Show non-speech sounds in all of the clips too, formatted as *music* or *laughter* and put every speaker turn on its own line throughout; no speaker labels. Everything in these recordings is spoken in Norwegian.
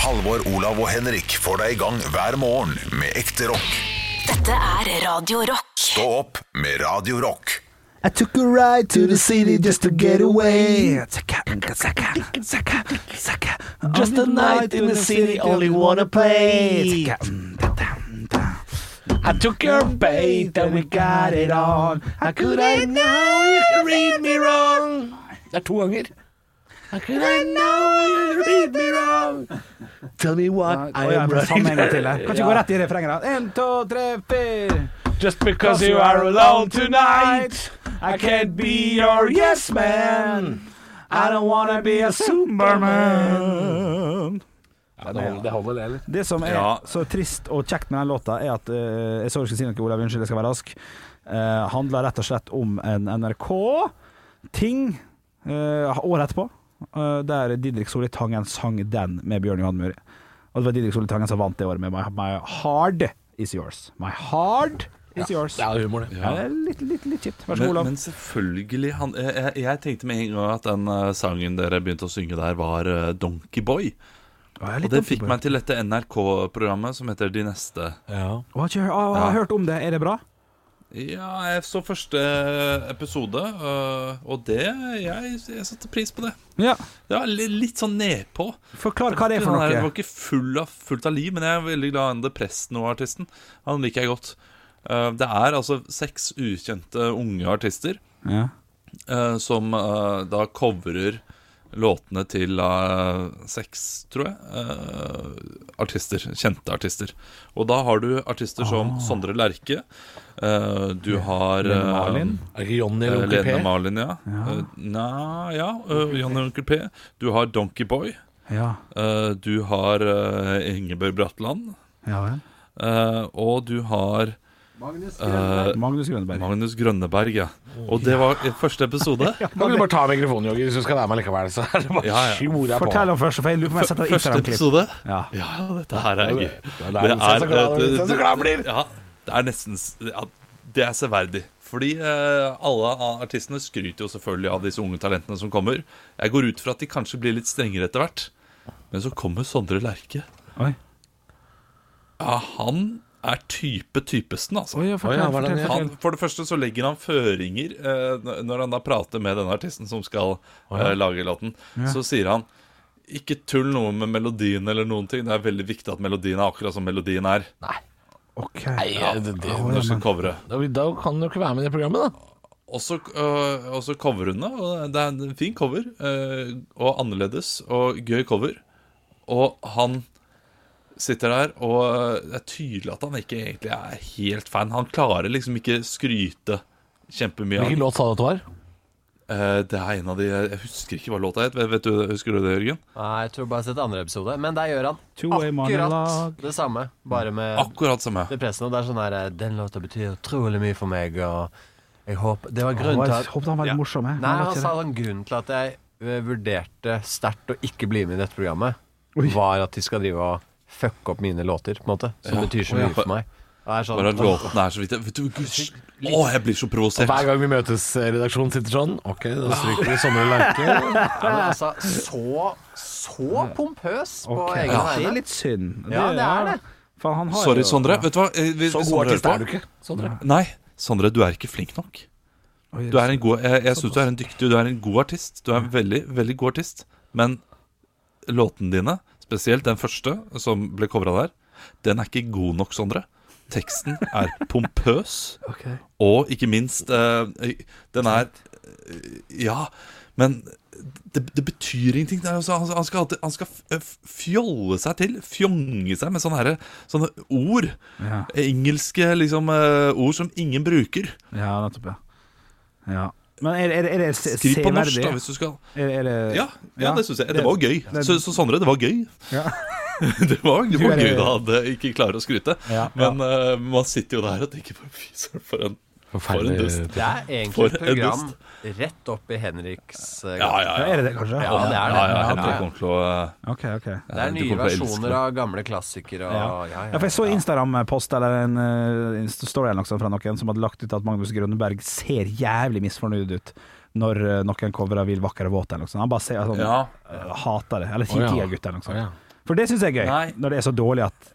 Halvor, Olav og Henrik får deg i gang hver morgen med ekte rock.
Dette er Radio Rock.
Stå opp med Radio Rock.
I took a ride to the city just to get away. Just a night in the city, only wanna play. I took your bait and we got it on. How could I know you read me wrong? Det er to ganger. How could I know you read me wrong? Tell me what I
Å, ja,
am
men samme
*laughs*
en gang til.
running.
jeg. Kan ikke gå rett i refrenget, da. En, to, tre, fire.
Just because you are alone tonight, I can't be your yes man. I don't wanna be a superman. Ja, det, holder, det holder, det, eller?
Det som er
Ja.
så trist og kjekt med den låta, er at eh, Jeg så du skulle si noe, Olav. Unnskyld, jeg skal være rask. Uh, handler rett og slett om en NRK-ting eh, året etterpå, eh, der Didrik Solli Tangen sang den med Bjørn Johan Muri. Og det var Didrik Solli Tangen som vant det året med My, my Hard Is Yours. My Hard Is Yours.
Det er humor, det.
Ja, det er litt, litt, litt kjipt. Vær så god,
Men,
Olav.
men selvfølgelig han, jeg, jeg- jeg tenkte med en gang at den eh, sangen dere begynte å synge der, var eh, Donkey Boy.
Å, jeg er litt
Og det
dumt på
fikk meg til dette NRK-programmet som heter De
Å,
neste.
har ikke hørt- å, jeg har
Ja.
hørt om det. Er det bra?
Ja, jeg så første eh, episode, øh, og det Jeg, jeg satte pris på det.
Ja.
Det var litt, litt sånn nedpå.
Forklar hva det er for
Den der var
noe.
ikke full av, fullt av liv, men jeg er veldig glad i han depressen og artisten. Han liker jeg godt. Eh, det er altså seks ukjente unge artister
Ja.
eh, som eh, da coverer låtene til eh, seks, tror jeg, eh, artister. Kjente artister. Og da har du artister som Sondre Lerche. eh, du har
Lene
eh,
Marlin?
Er det Johnny
Eh,
eller Onkel
Lene
P?
Marlin, ja. ja. Nei, ja. eh, Jan og Onkel P. Du har Donkey Boy.
Ja.
eh, du har eh, Ingeborg Bratland.
Ja vel.
eh, og du har eh,
Magnus Grønneberg.
Magnus Grønneberg, ja. Og det var i første episode.
Nå kan du bare ta mikrofonen, Jogge, hvis du skal være med likevel. Så er det bare
Ja, ja.
tjora på.
Fortell om først, for jeg lurer på om jeg har sett et
Første
Instagram-klipp.
episode.
Ja.
Ja, dette her er gøy.
det er- se så glad-
eh,
se så
det-
glad han blir.
Ja, det er nesten s- ja, Det er severdig. Fordi eh, alle a- artistene skryter jo selvfølgelig av disse unge talentene som kommer. Jeg går ut fra at de kanskje blir litt strengere etter hvert. Men så kommer Sondre Lerche.
Oi.
Ja, han er type typesten, altså.
Oi, ja,
Oi, ja,
fortell,
hva er det
fortell,
han
Han,
fortell.
for det første så legger han føringer eh, n- når han da prater med denne artisten som skal eh, lage låten. Så sier han ikke tull noe med melodien eller noen ting. Det er veldig viktig at melodien er akkurat som melodien er.
Ok.
Ja, det, det,
Når du skal covre.
da, da kan du ikke være med i det programmet, da.
Og så øh, og så coverene. og Det er en fin cover. øh, og annerledes og gøy cover. Og han sitter der, og det er tydelig at han ikke egentlig er helt fan. Han klarer liksom ikke skryte kjempemye. av-
Hvilken låt sa du at det var?
Eh, det er en av de Jeg husker ikke hva låta het. Vet- Vet du, husker du det, Jørgen?
Nei, jeg tror bare jeg har sett andre episode. Men der gjør han
Two-way monolog.
akkurat det samme, bare med
Akkurat samme.
det pressen. Og det er sånn her Den låta betyr utrolig mye for meg, og jeg håper Det var
Å,
grunnen til
Jeg
at
håpet han var
Ja.
litt morsom. jeg.
Nei,
Han var
han
ikke
sa
det.
den grunnen til at jeg eh, vurderte sterkt å ikke bli med i dette programmet,
Oi.
var at de skal drive og fucke opp mine låter, på en måte. Som betyr så
Å, ja.
mye for meg. Og jeg er sånn,
Bare at låten er så vidt Vet du, gud, sj- Å, jeg blir så provosert.
Hver gang vi møtes, eh, redaksjonen sitter sånn. Ok, da stryker vi Sondre *laughs* Lerche.
Ja, men altså, så, så pompøs på
Ok.
egen
Ja, Det er
vegne.
litt synd.
Ja, det er det.
For han har
Sorry,
jo-
Sondre. Vet du hva? Eh, vi-
Så
hvis
god
Sondre
artist
hører
er
på-
du ikke, Sondre.
Nei, Sondre, du er ikke flink nok.
Oi,
Du er en god, jeg jeg syns du er en dyktig Du er en god artist. Du er en veldig, veldig god artist. Men låtene dine, spesielt den første som ble covra der, den er ikke god nok, Sondre. Teksten er
*laughs*
pompøs,
Ok.
og ikke minst eh, Den er eh, Ja, men det, det betyr ingenting. Det er altså, han, han skal, alltid- han skal f- f- fjolle seg til, fjonge seg med sånne, herre- sånne ord.
Ja.
Engelske liksom, eh, ord som ingen bruker.
Ja, nettopp, ja. ja. Men er, er, er det se-
Skriv på norsk,
severdig?
da, hvis du skal.
Er, er det
Ja, ja,
ja,
det syns jeg. Det,
det-
var gøy.
det-
så, så Sondre, det var gøy.
Ja.
*laughs* det var, det
Du
var
er-
gøy da han eh, ikke klarer å skryte.
Ja,
Men eh, man sitter jo der og tenker på fy søren, for en For en dust.
Det er egentlig
For
et
en
program rett opp i Henriks eh,
Ja, ja,
Ja,
ja.
Er det det, kanskje?
Ja, det
ja,
er det.
ja, ja
Ja,
Henrik
ja.
kommer til å eh,
Ok, ok. Ja.
Det er
du kommer
nye
til å elske
versjoner
det.
av gamle klassikere. Og, ja, ja,
for jeg så Instagram-post eller en eh, Insta story eller noe sånt fra noen som hadde lagt ut at Magnus Grønneberg ser jævlig misfornøyd ut når eh, noen coverer 'Vill vakker og våt' eller noe sånt. Han bare ser sånn,
Ja.
eh, hater det. Eller
ja.
10-tida-gutt eller noe
Å, ja.
sånt. For det syns jeg er gøy,
Nei.
når det er så dårlig at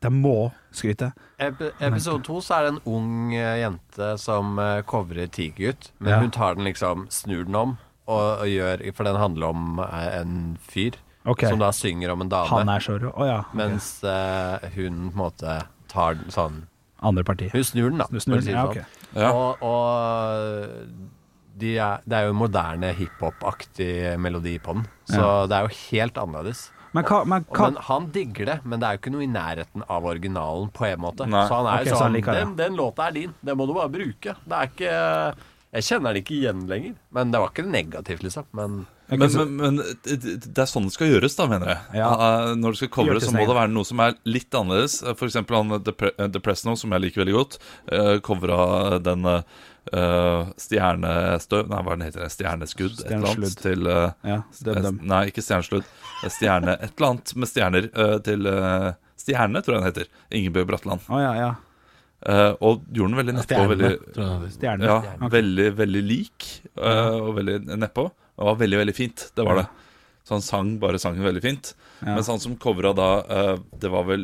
de må skryte.
Ep episode to så er det en ung eh, jente som eh, covrer Tigergutt. Men
Ja.
hun tar den liksom, snur den om, og, og gjør For den handler om eh, en fyr
Ok.
som da synger om en dame.
Han er så rå. Å ja. ok.
Mens eh, hun på en måte tar den sånn
Andre parti.
Hun snur den, da.
Du snur
for å si
den,
det
ja,
sånn.
ok.
Ja.
Og, og de er, det er jo en moderne hiphop-aktig melodi på den. Så det er jo helt annerledes.
Men hva, men
Og
hva
Men han digger det, men det er jo ikke noe i nærheten av originalen på en måte.
Nei.
Så han er
Ok,
jo
så han
sånn
liker det.
den, den låta er din, den må du bare bruke. Det er ikke Jeg kjenner den ikke igjen lenger. Men det var ikke negativt, liksom. Men
Ok,
Men,
så-
men, men det det er sånn det skal gjøres, da, mener jeg.
Ja.
Eh, Når du skal
Gjør sånn
covre,
til
så må
seg.
det være noe som er litt annerledes. Eh, For eksempel han eh, Depre- eh, Depresno, som jeg liker veldig godt, eh, covra den eh, eh, stjernestøv Nei, hva er den heter det? Stjerneskudd? Et eller annet.
Stjernesludd.
Til eh,
Ja, døm
eh,
dem.
Nei, ikke stjernesludd. Eh, Stjerne Et eller annet med stjerner eh, til eh, Stjerne, tror jeg den heter. Ingebjørg Bratland.
Å ja, ja.
Eh, og gjorde den veldig nedpå. Veldig,
Stjerne.
ja,
Ok.
veldig, veldig lik eh, og veldig nedpå. Det var veldig, veldig fint. Det var det. Så han sang bare sangen veldig fint.
Ja.
Mens han som covra da eh, Det var vel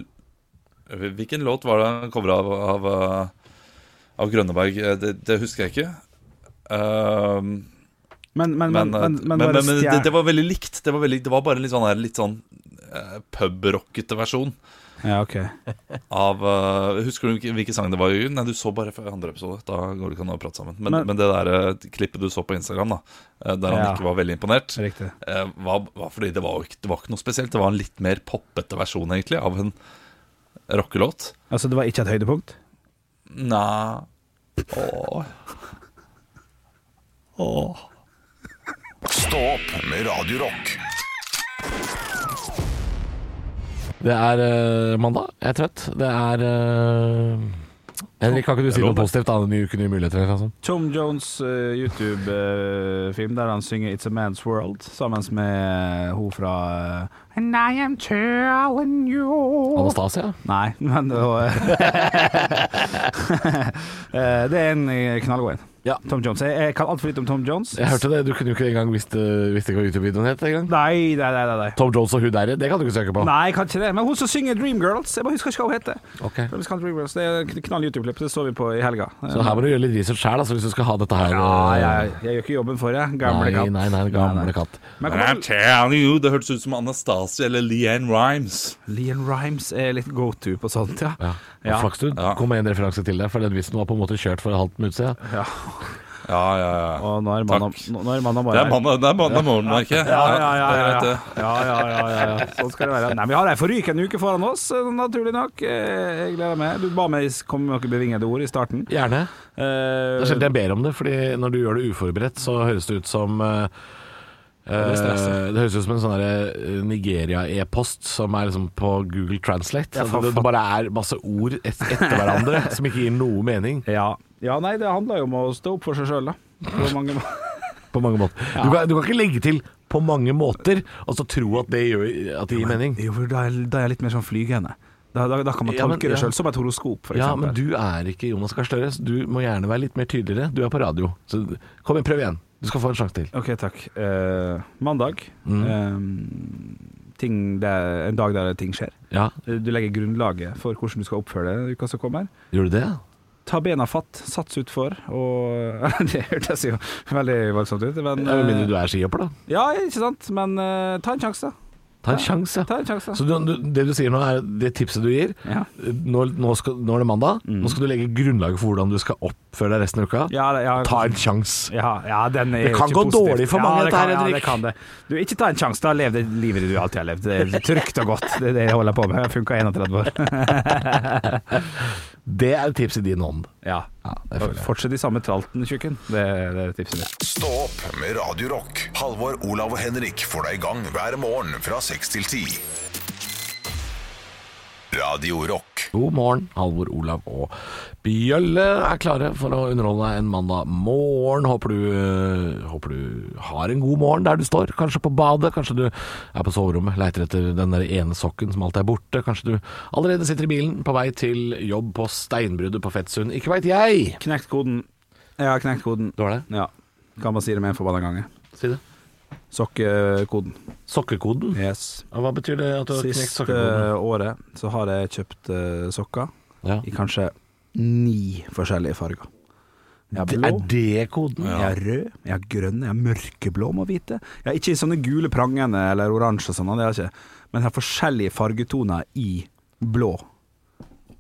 Hvilken låt var det han covra av, av, eh, av Grønneberg? Eh, Det, det husker jeg ikke. Eh,
Men, men, men,
men, eh,
men, men,
men,
bare
men det,
stjerne-
det var veldig likt. Det var, veldig, det var bare en litt sånn, her- litt sånn eh, pubrockete versjon
Ja, ok.
av eh, Husker du ikke hvilken sang det var? Jørgen? Nei, du så bare fra andre episode. Da går det ikke an å prate sammen. Men,
Men-
men, det der eh, klippet du så på Instagram, da eh, der han
Ja.
ikke var veldig imponert,
Riktig.
eh, var, var fordi det var, jo ikke, det var ikke noe spesielt. Det var en litt mer poppete versjon, egentlig, av en rockelåt.
Altså, det var ikke et høydepunkt?
Nei Åh. Åh.
Stå opp med Radio Rock.
Det er eh, mandag. Jeg er trøtt. Det er eh, Henrik, kan ikke du si
Det er
noe
lov, det.
positivt annet enn nye uker, nye muligheter? eller noe sånt?
Tom Jones' eh, YouTube-film der han synger 'It's a Man's World' sammen med hun fra eh, And I am telling you
Anastasia?
Nei, men det var *laughs* Eh, Det er en eh, knallgod en.
Ja.
Tom Jones. Jeg, jeg kan altfor lite om Tom Jones.
Jeg hørte det. Du kunne jo ikke engang visst, eh, visste ikke hva YouTube-videoen het engang.
Nei, nei, nei. nei, nei.
Tom Jones og hun der, det kan du ikke søke på.
Nei, jeg kan ikke det. Men hun som synger Dreamgirls. Jeg bare husker ikke hva hun heter.
Ok.
Travis Scott Dreamgirls, Det er et knall YouTube-klipp. Det så vi på i helga.
Så her må du gjøre litt research sjæl, altså, hvis du skal ha dette her.
ja,
eh,
jeg, jeg gjør ikke jobben for deg. Gamle
nei,
katt.
nei, nei, gamle katt.
Men
And I'm
kommer,
telling you, Det hørtes ut som Anastasia eller Leanne Rhymes.
Leon Rhymes er litt go to på sånt, ja.
Ja.
Ja.
Flaks du
Ja.
kom med en referanse til det, for den vitsen var på en måte kjørt for et halvt minutt siden.
Ja, ja, ja.
Og nå er mandag
Takk.
nå- nå er mandag
Det
bare
er mandag det er mandag morgen, merker jeg.
Ja, ja, ja.
det er
ja,
greit,
ja.
det.
ja, ja, ja, ja, ja. Sånn skal det være. Nei, Vi har ei forrykende uke foran oss, eh, naturlig nok. Eh, Jeg gleder meg. Du ba meg s- komme med noen bevingede ord i starten.
Gjerne.
Eh,
Det er sjelden jeg ber om det, fordi når du gjør det uforberedt, så høres det ut som eh,
det stresser.
eh, det høres ut som en sånn der, eh, Nigeria-e-post som er liksom på Google Translate.
Ja, for
Altså, det, det bare er masse ord et, etter hverandre
*laughs*
som ikke gir noe mening
ja. ja, nei, det handler jo om å stå opp for seg sjøl, da. På mange må-
*laughs* på mange måter. Du, kan, du kan ikke legge til 'på mange måter' og så tro at det, gjør, at det gir mening.
Jo, for da er, da er jeg litt mer sånn flygende. Da, da, da kan man
Ja,
tolke
men-
det
ja.
sjøl, som et horoskop, for
Ja,
eksempel.
men du er ikke Jonas Gahr Støre, så du må gjerne være litt mer tydeligere. Du er på radio, så kom igjen, prøv igjen. Du skal få en sjanse til.
Ok, takk. Eh, mandag.
Mm.
eh, ting der, en dag der ting skjer.
Ja,
Eh, Du legger grunnlaget for hvordan du skal oppføre deg uka som kommer.
gjorde du det?
Ta bena fatt, sats utfor og *laughs* Det hørtes jo veldig voldsomt ut, men
Med
eh,
mindre du er skihopper, da.
Ja, ikke sant? Men eh, ta en sjanse, da.
Ta en sjanse.
Ta en sjanse.
Så du, du, det du sier nå er det tipset du gir.
Ja.
Nå, nå, skal, nå er det mandag. Nå skal du legge grunnlaget for hvordan du skal oppføre deg resten av uka.
Mm. Ja, det- ja,
Ta en sjanse.
ja, ja, den er
Det
jo
kan
ikke
gå
positiv.
dårlig for mange,
ja, det
dette
kan,
her,
ja, det
Henrik.
kan det. Du, ikke ta en sjanse, da. Lev det livet du alltid har levd. Det er trygt og godt. Det er det jeg holder på med. Jeg har funka 31 år.
Det er et tips i din ånd.
Ja.
det føler jeg.
Fortsett i samme tralten, tjukken. Det, det er tipset mitt.
Stå opp med Radio Rock. Halvor, Olav og Henrik får deg i gang hver morgen fra 6 til 10. Radio Rock.
God morgen. Halvor, Olav og Bjølle er klare for å underholde deg en mandag morgen. Håper du, øh, håper du har en god morgen der du står. Kanskje på badet, kanskje du er på soverommet, leiter etter den der ene sokken som alltid er borte. Kanskje du allerede sitter i bilen på vei til jobb på Steinbruddet på Fettsund. Ikke veit jeg!
Knekt koden. Jeg har knekt koden.
Du har det?
Ja. Kan man si det med en forbanna gang?
Si det.
Sokkekoden.
Sokkekoden?
Yes.
Hva betyr det at du har knekt
Siste
sokkekoden?
året så har jeg kjøpt eh, sokker
Ja.
i kanskje ni forskjellige farger. Jeg har blå,
Er det koden?
Mm, jeg har rød, jeg har grønn, jeg har mørkeblå, må vite. Jeg har ikke sånne gule prangende eller oransje og sånn, det har jeg ikke. Men jeg har forskjellige fargetoner i blå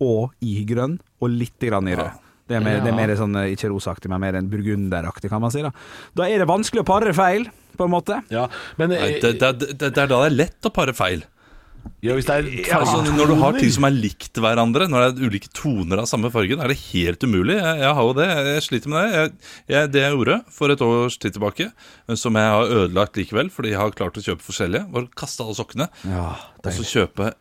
og i grønn, og litt grann i rød. Det er mer, det er mer sånn, eh, ikke roseaktig, men mer en burgunderaktig, kan man si. Da. da er det vanskelig å pare feil, på en måte.
Ja, men eh,
Nei, det, det, det, det er da det er lett å pare feil.
ja, hvis det er
Altså, når du har ting som er likt hverandre, når det er ulike toner av samme fargen, er det helt umulig. Jeg, jeg har jo det, jeg sliter med det. Jeg, jeg, det jeg gjorde for et års tid tilbake, men som jeg har ødelagt likevel, fordi jeg har klart å kjøpe forskjellige, var å kaste alle sokkene
Ja,
og så kjøpe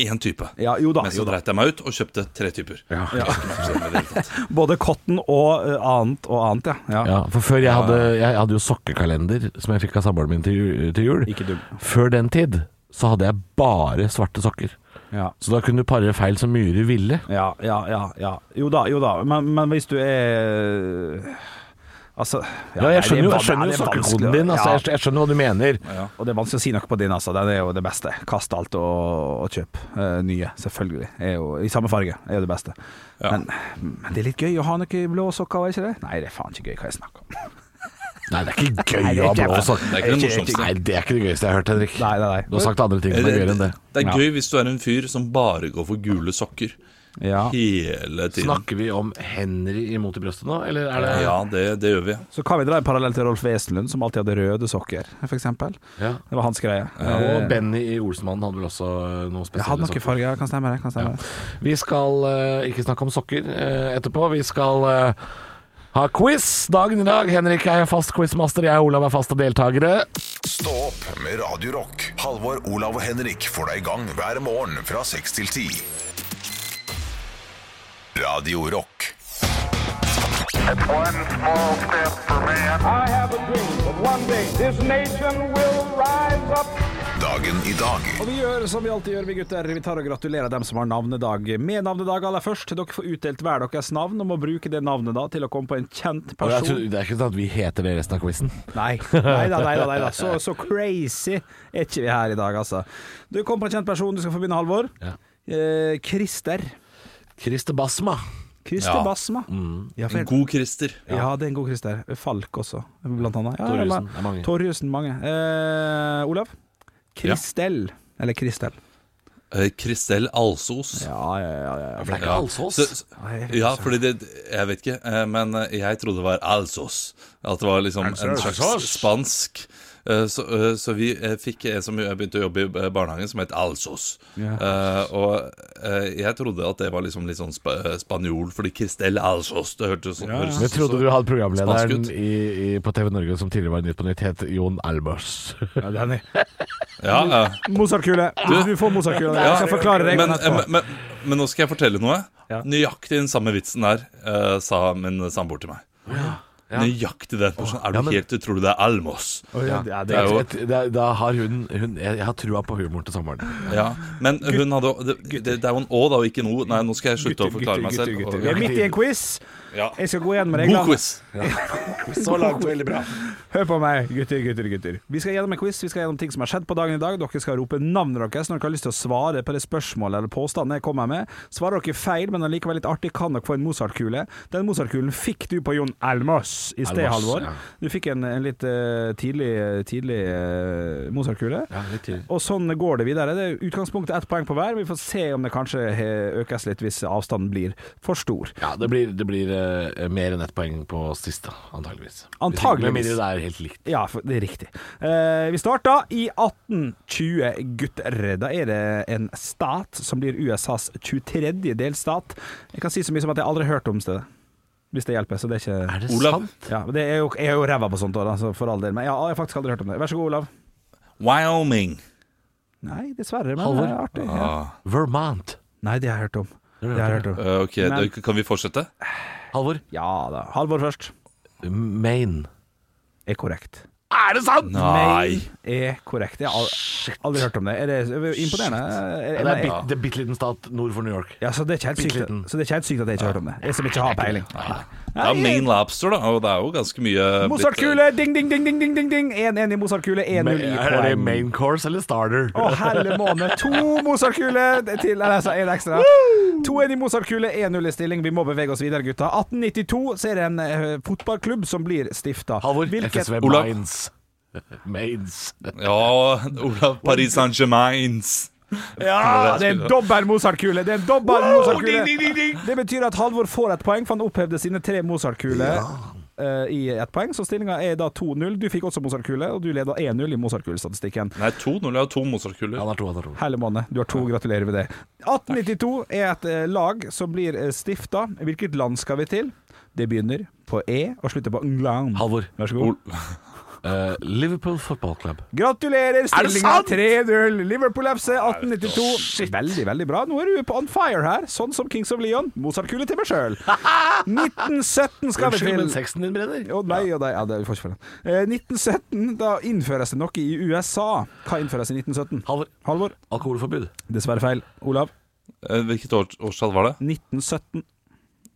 én type.
ja jo da.
Men
Jo
så
da.
dreit jeg meg ut og kjøpte tre typer. Jeg husker ikke hva jeg gjorde med det i det hele tatt.
Både cotton og eh, annet og annet, ja. ja.
Ja, for før jeg hadde, jeg hadde jo sokkekalender som jeg fikk av samboeren min til, ju- til jul.
Ikke dum.
Før den tid så hadde jeg bare svarte sokker.
Ja.
Så da kunne du pare feil så mye du ville.
Ja, ja, ja, ja. Jo da, jo da. Men, men hvis du er Altså
Ja, jeg skjønner jo, jeg
nei,
skjønner
det
jo
er vanskelig
sokkekoden
å-
din. Altså,
ja,
jeg skj- jeg skjønner hva du mener.
Og det er vanskelig å si noe på din, altså. Den er jo det beste. Kast alt og, og kjøp eh, nye, selvfølgelig. Er jo, I samme farge er jo det beste. Men, men det er litt gøy å ha noe blå sokker, er ikke det? Nei, det er faen ikke gøy hva jeg snakker om.
Nei, det er ikke
Nei, det er
gøy å ha
ikke-
blå
Det er
sokker.
ikke det
Ikke- ikke-
morsomste.
Nei, det er ikke det gøyeste jeg har hørt, Henrik.
Nei, nei, nei.
Du har sagt andre ting som
Det,
er gøyere enn
det,
det.
det
Ja.
er gøy hvis du er en fyr som bare går for gule sokker
Ja.
hele tiden.
Snakker vi om Henry imot i brøstet nå, eller er det
Ja, det, det gjør vi.
Så kan vi dra en parallell til Rolf Wesenlund, som alltid hadde røde sokker, f.eks.
Ja.
Det var hans greie.
Og
Eh,
Benny i Olsmannen hadde vel også noen
jeg hadde
spesielle
noen
sokker.
farger, kan stemme det. Kan stemme det.
Vi skal eh, ikke snakke om sokker eh, etterpå. Vi skal eh, ha quiz dagen i dag. Henrik er fast quizmaster, jeg og Olav er faste deltakere.
Stå opp med Radio Rock. Halvor, Olav og Henrik får deg i gang hver morgen fra 6 til 10. Radio Rock.
One small step for man. I have a dream that one day this nation will rise up.
Dagen i dag.
Og vi gjør som vi alltid gjør, vi gutter. Vi tar og gratulerer dem som har navnedag med navnedag aller først. Dere får utdelt hver deres navn og må bruke det navnet da til å komme på en kjent
Og jeg
person.
tror- det er ikke sånn at vi heter det resten av quizen.
Nei, nei da, nei da. Nei da. Så, så crazy er ikke vi her i dag, altså. Du kom på en kjent person. Du skal få begynne, Halvor.
Ja.
Eh, Christer.
Christer Basma.
Christer
Ja.
Basma. Ja, for-
En god Christer.
ja, det er en god Christer. Falk også, blant annet. Ja, det er
Torjussen,
ma-
det er mange.
Torjussen, mange. Eh, Olav? Kristel. Eller Kristel.
Eh, Christel Alsos.
Ja, ja, ja. ja, ja.
For det er ikke
Ja.
Alsås.
Så- så-
Nei, jeg vet
Ja,
ikke.
fordi det Jeg vet ikke, eh, men jeg trodde det var Alsos. At det var liksom en slags spansk eh, Så, eh, så vi eh, fikk en som jeg begynte å jobbe i eh, barnehagen, som het Alsos.
Ja.
Eh, og eh, jeg trodde at det var liksom litt sånn spa eh, spanjol, fordi Christel Alsos Det hørtes sånn høres
Jeg trodde
så-
du hadde programlederen
Spansk ut.
i, i, på TV Norge som tidligere var i Nytt på Nytt, het Jon Albers. *laughs*
Ja, den er
Ja, ja.
Mozartkule. Du, du får Mozartkule. Jeg skal forklare deg.
men, eh,
etterpå.
men, men, men nå skal jeg fortelle noe.
Ja.
Nøyaktig den samme vitsen der eh, sa min samboer til meg. Nøyaktig den personen. Er du
Ja, men-
helt Tror du det er Almos?
Å, ja, det er- det
er jo-
Et- det er- Da har hun, hun jeg, jeg har trua på humoren til sommeren.
Ja, men hun hadde det, det, det er jo en Å da, og ikke en O. Nei, nå skal jeg slutte å forklare meg selv.
Vi er midt i en quiz.
Ja.
Jeg skal gå igjen med deg.
God
da.
quiz!
Så langt, veldig bra.
Hør på meg, gutter, gutter, gutter. Vi skal gjennom en quiz. Vi skal gjennom ting som har skjedd på dagen i dag. Dere skal rope navnet deres når dere har lyst til å svare på det spørsmålet eller påstanden jeg kommer med. Svarer dere feil, men allikevel litt artig, kan dere få en Mozart-kule. Den Mozart-kulen fikk du på Jon Almaas i sted,
Almaas,
Halvor.
ja.
Du fikk en, en litt eh, tidlig, tidlig eh, Mozart-kule.
Ja, litt tidlig.
Og sånn går det videre. Det er utgangspunktet ett poeng på hver. Vi får se om det kanskje eh, økes litt hvis avstanden blir for stor.
Ja, det blir, det blir eh, mer enn ett poeng på siste, antageligvis.
Antageligvis.
Med mindre det er helt likt.
Ja, for- det er riktig. Eh, vi starta i 1820, gutter. Da er det en stat som blir USAs 23. delstat. Jeg kan si så mye som at jeg aldri har hørt om stedet, hvis det hjelper. Så det er ikke
det
Olav.
ja, men det er jo, Jeg er jo ræva på sånt, da, altså, for all del. Men jeg har jeg har faktisk aldri hørt om det. Vær så god, Olav.
Wyoming.
Nei, dessverre, men
Halvor?
det er artig. Ja.
Ah,
Vermont.
Nei, det har jeg hørt om. Det har jeg hørt om.
eh, ok,
Men-
da, Kan vi fortsette?
Halvor.
Ja da. Halvor først.
Maine.
Er korrekt.
Er det sant?!
Nei!
Er korrekt. Jeg har al- aldri hørt om det. Er det imponerende? Er,
Ja, det er bit- det er bitte liten stat nord for New York.
Ja, så det er ikke helt sykt,
Bitte liten.
så det er ikke helt sykt at jeg ikke har hørt om det. Jeg som ikke har peiling.
Det er jo Main Lobster, da, og det er jo ganske mye blitt-
Mozartkule! Ding, ding, ding, ding, ding, ding, ding. 1-1 i Mozartkule, 1-0 i
Er det
poeng.
main course eller starter?
Å, helle måned. To Mozartkule til Eller altså, én ekstra. 2-1 i Mozartkule, 1-0 i stilling. Vi må bevege oss videre, gutta. 1892 så er det en eh, fotballklubb som blir stifta.
Halvor,
Hvilket
FSV
Olav.
Mainz. *laughs* Mainz.
Ja, Olav Paris Saint-Germains.
Ja, det er en dobbel Mozartkule! Det er en dobbel Mozartkule! Det betyr at Halvor får et poeng, for han opphevde sine tre Mozart-kuler eh, i ett poeng. Så stillinga er da 2-0. Du fikk også Mozart-kule, og du leda 1-0 i Mozart-kulestatistikken.
Nei, 2-0 er to Mozart-kuler.
Han har to, han har to.
Hele måned. Du har to. Gratulerer med det. 1892 er et eh, lag som blir stifta. Hvilket land skal vi til? Det begynner på E og slutter på England.
Halvor.
Vær så god.
Eh, Liverpool Football Club.
Gratulerer! Stillinga
sant?
3-0. Liverpool-FC 1892. Veldig, veldig bra. Nå er du på on fire her, sånn som Kings of Leon. Mozart-kule til meg
*laughs*
sjøl. 1917 skal vi
Unnskyld, men
til.
sexen din brenner.
Å nei, å nei, ja, det vi får ikke for den. Eh, 1917, da innføres det noe i USA. Hva innføres i 1917?
Halvor,
Halvor?
alkoholforbud.
Dessverre feil. Olav?
Eh, Hvilket år, årstall var det?
1917.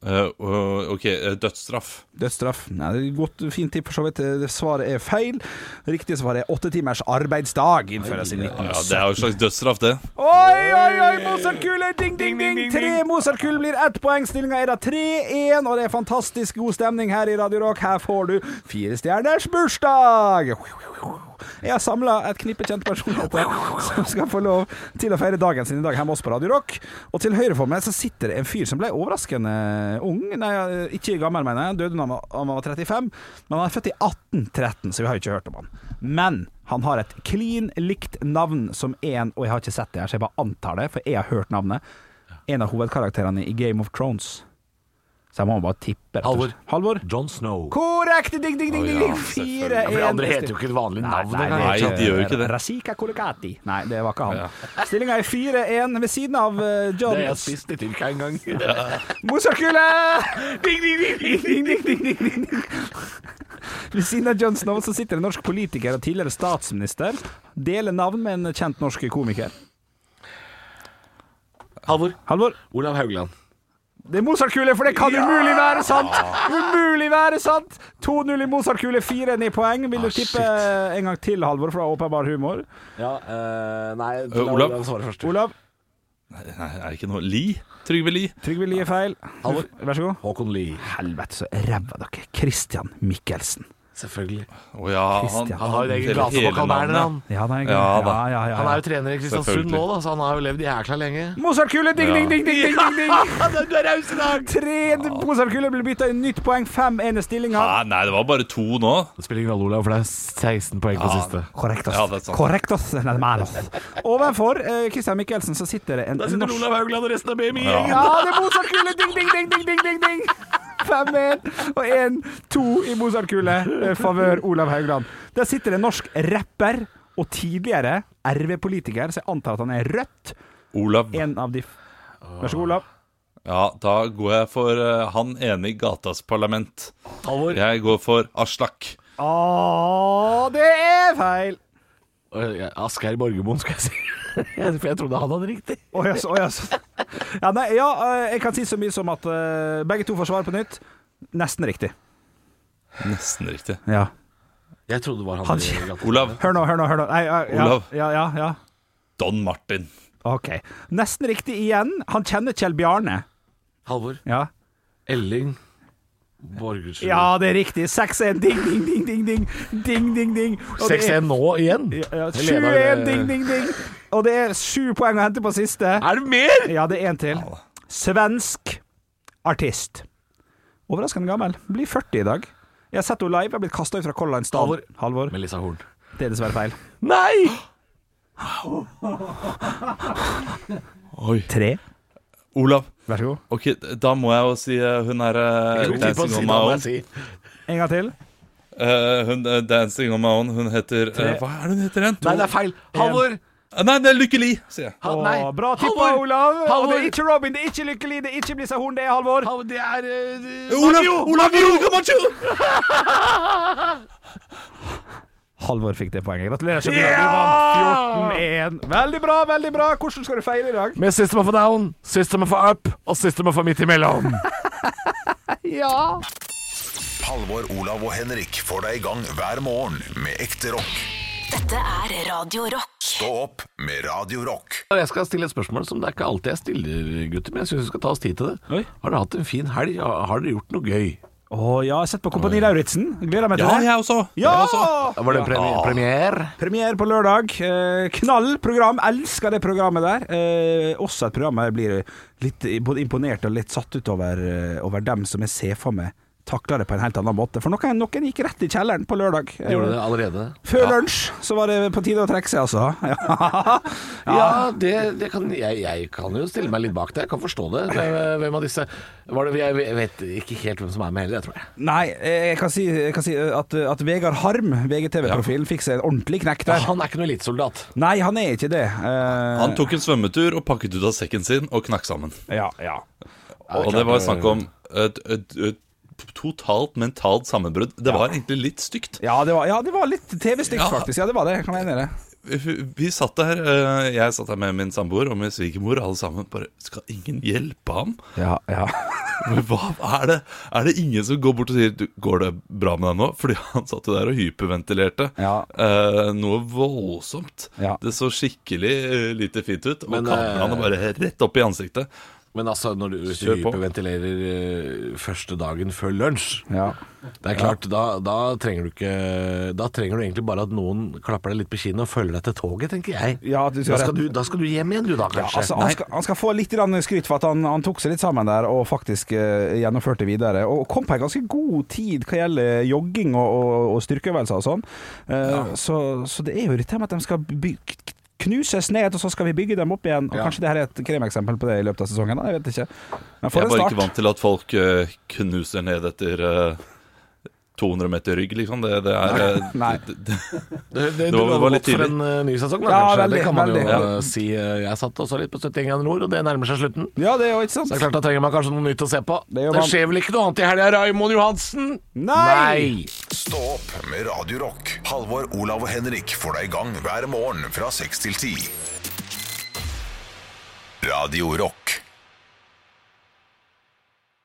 Eh, og- ok, eh, dødsstraff.
Dødsstraff. Nei, det er et godt, fint tipp, for så vidt. Det Svaret er feil. Riktig svar er åtte timers arbeidsdag innføres i
Ja,
19...
det er jo et slags dødsstraff, det.
Oi, oi, oi! Mozartkule! Ding, ding, ding! Tre Mozartkule blir ett poeng. Stillinga er da 3-1, og det er fantastisk god stemning her i Radio Rock. Her får du fire stjerners bursdag! Jeg har samla et knippe kjente personligheter som skal få lov til å feire dagen sin i dag her med oss på Radio Rock. Og til høyre for meg så sitter det en fyr som ble overraskende ung. Nei, ikke gammel, mener jeg. Han Døde da han var- han var 35. Men han er født i 1813, så vi har jo ikke hørt om han. Men han har et klin likt navn som en Og jeg har ikke sett det her, så jeg bare antar det, for jeg har hørt navnet. En av hovedkarakterene i Game of Thrones. Så jeg må bare tippe. rett og slett. Halvor.
John Snow.
Korrekt! Ding, ding, ding, ding, ding. Fire,
Ja, for de andre heter jo ikke et vanlig navn.
Nei,
engang.
Nei, de gjør jo ikke det.
Rasika Kolekati. Nei, det var ikke han. Stillinga er 4-1 ved siden av eh,
Det har jeg
John
spist i Tyrkia en gang.
Mozartkule! Ding, ding, ding, ding, ding, ding, ding, ding, ding. Ved siden av John Snow så sitter en norsk politiker og tidligere statsminister. Deler navn med en kjent norsk komiker.
Halvor.
Halvor,
Olav Haugland.
det er Mozartkule, for det kan umulig være sant! Umulig være sant! 2-0 i Mozartkule, 4-9 poeng. Vil du tippe en gang til, Halvor, fra Åpenbar humor?
Ja, eh, nei la
Eh, Olav.
Olav svare først.
Olav,
Nei, er det ikke noe Li? Trygve Li?
Trygve Lie feil.
Halvor.
Vær så god.
Håkon Lie.
Helvete, så ræva dere. Christian Michelsen.
Selvfølgelig.
Å ja, han,
Christian.
Han har jo et eget
hele-
glasebok,
hele
han er der,
navnet.
han.
Ja, nei,
Ja, da.
ja, ja,
Han
ja,
er jo
ja.
trener i Kristiansund nå,
Selvfølgelig.
da, så han har jo levd jækla *laughs* lenge.
Mozartkule, ding, ding, ding, ding, ding, ding, ding.
Du er raus i dag!
Tre Mozartkule blir bytta i nytt poeng. Fem ene stillinga.
Nei, Ah, nei, det var bare to nå.
Det spiller ingen rolle, Olav, for det er 16 poeng på siste.
Korrekt
Ja,
oss.
det er sant.
Korrekt oss. Nei, man, oss. Ovenfor eh, Christian Michelsen så sitter det en norsk
Haugland og resten av BMI-gjengen.
Ja.
Ja, det er Mozartkule! Ding, ding, ding, ding, ding, ding, ding. 5-1 og 1-2 i Mozartkule. eh, Favør Olav Haugland. Der sitter en norsk rapper og tidligere RV-politiker, så jeg antar at han er rødt.
Olav.
En av de f- Vær så god, Olav.
Ja, da går jeg for eh, han ene i gatas parlament.
Halvor.
Jeg går for Aslak.
Å, Ah, det er feil!
Eh, Asgeir Borgermoen, skal jeg si. *laughs* For jeg trodde han hadde riktig.
Å jaså, å jaså. altså, Ja, nei, ja, eh, jeg kan si så mye som at eh, begge to får svar på nytt. Nesten riktig.
Nesten riktig.
Ja.
Jeg trodde det var han.
Han-
i gata.
Olav.
Hør nå, hør nå. hør nå. Nei, ja, ja,
Olav.
Ja, ja, ja.
Don Martin.
OK. Nesten riktig igjen. Han kjenner Kjell Bjarne.
Halvor.
Ja,
Elling Borgersen.
ja det er riktig. 6-1. Ding, ding, ding, ding. Ding, ding, ding. ding. Og det er-
6-1 nå igjen?
Ja, ja,
Jeg leder, eh,
7-1. Ding, ding, ding. Og det er sju poeng å hente på siste.
Er det mer?!
Ja, det er en til. Svensk artist. Overraskende gammel. Blir 40 i dag. Jeg har sett henne live. Jeg er blitt kasta ut fra Color Line Stad.
Halvor.
Halvor.
Melissa Horn.
Det er dessverre feil.
Nei!
Tre.
Olav.
Vær så god.
Ok, da må jeg jo si eh, hun er eh, Dancing on my own.
En gang til.
Eh, hun eh, Dancing on my own. Hun heter eh, Hva er det hun heter igjen?
Nei, det er feil. Halvor!
Eh, Nei, det er Lykke Li, sier jeg.
Ha,
Å,
Ah, nei.
bra tippa,
Halvor!
Olav. Og det
Halvor!
er ikke Robin, det er ikke Lykkelig, det er ikke Blissa Horn, det er Halvor.
Halvor, det er eh,
Olav! Olav Jorgo Macho!
Halvor fikk det poenget. Gratulerer.
Ah!
Ja! Du vant 14-1. Veldig bra, veldig bra. Hvordan skal du feire i dag?
Med System of a Down, System of a Up og System of a Midt imellom.
Ja.
Halvor, Olav og Henrik får deg i gang hver morgen med ekte rock.
Dette er Radio Rock.
Stå opp med Radio Rock.
Og *laughs* Jeg skal stille et spørsmål som det er ikke alltid jeg stiller, gutter, men jeg syns vi skal ta oss tid til det.
Oi.
Har dere hatt en fin helg? Har har dere gjort noe gøy?
Å ja, jeg har sett på Kompani Lauritzen. Gleder meg til
Ja,
det.
jeg også.
Ja!
Jeg også.
Var det premiere? premiere?
Premiere på lørdag. Eh, knall program. Elsker det programmet der. Eh, også et program jeg blir litt både imponert og litt satt ut over, eh, over dem som jeg ser for meg takler det på en helt annen måte. For noen, noen gikk rett i kjelleren på lørdag. Eh,
Gjorde dere det allerede?
Før lunsj så var det på tide å trekke seg, altså. *laughs* Ja.
Ja, det, det kan, jeg, jeg kan jo stille meg litt bak det. Jeg kan forstå det. Hvem, hvem av disse var det, Jeg vet ikke helt hvem som er med heller, jeg tror jeg.
Nei, eh, jeg kan si, jeg kan si at, at Vegard Harm, VGTV-profilen, fikk seg en ordentlig knekk der.
Han er ikke noen elitesoldat.
Nei, han er ikke det. Eh,
Han tok en svømmetur og pakket ut av sekken sin og knakk sammen.
Ja, ja.
Og det var snakk om et, et, et totalt mentalt sammenbrudd. Det var egentlig litt stygt.
Ja, det var, ja, det var litt TV-stygt,
Ja.
faktisk. Ja, det var det. Kan jeg enig i det.
Vi satt der, eh, jeg satt der med min samboer og min svigermor, alle sammen. Bare Skal ingen hjelpe ham?
Ja, ja.
Men Hva er det? Er det ingen som går bort og sier «Du, 'Går det bra med deg nå?' Fordi han satt jo der og hyperventilerte.
Ja.
Eh, noe voldsomt.
Ja.
Det så skikkelig eh, lite fint ut. Og
Men, eh,
kameraene bare rett opp i ansiktet.
Men altså, når du, hvis du
Kjør på.
hyperventilerer eh, første dagen før lunsj
ja.
Det er klart, da, da trenger du ikke Da trenger du egentlig bare at noen klapper deg litt på kinnet og følger deg til toget, tenker jeg.
Ja, du skal
da,
ha
skal
rett.
du, da skal du hjem igjen, du da,
Ja,
kanskje.
altså, han, skal, han skal få litt grann skryt for at han, han tok seg litt sammen der og faktisk eh, gjennomførte videre. Og kom på en ganske god tid hva gjelder jogging og, og, og styrkeøvelser og sånn. Eh, så, så det er jo dette med at de skal by knuses ned, og så skal vi bygge dem opp igjen. Og Kanskje det her er et kremeksempel på det i løpet av sesongen. da, Jeg vet ikke. Men for
Jeg
en
var ikke
start.
vant til at folk eh, knuser ned etter eh, 200 meter rygg, liksom. Det, det er eh,
Nei.
Det, det,
Det, det,
Det var-
lover
det var litt
godt for
tidlig.
en eh, ny sesong, da,
Ja,
kanskje.
veldig,
det kan man
veldig.
jo
Ja.
eh, si. eh, Jeg satt også litt på 71 grader nord, og det nærmer seg slutten.
Ja, det er jo ikke
Så det
sant.
er klart, Da trenger man kanskje noe nytt å se på.
Det
Det,
gjør man.
skjer vel ikke noe annet i helga, Raymond Johansen?
Nei!
Stå opp med Radio Rock. Halvor, Olav og Henrik får deg i gang hver morgen fra 6 til 10. Radio Rock.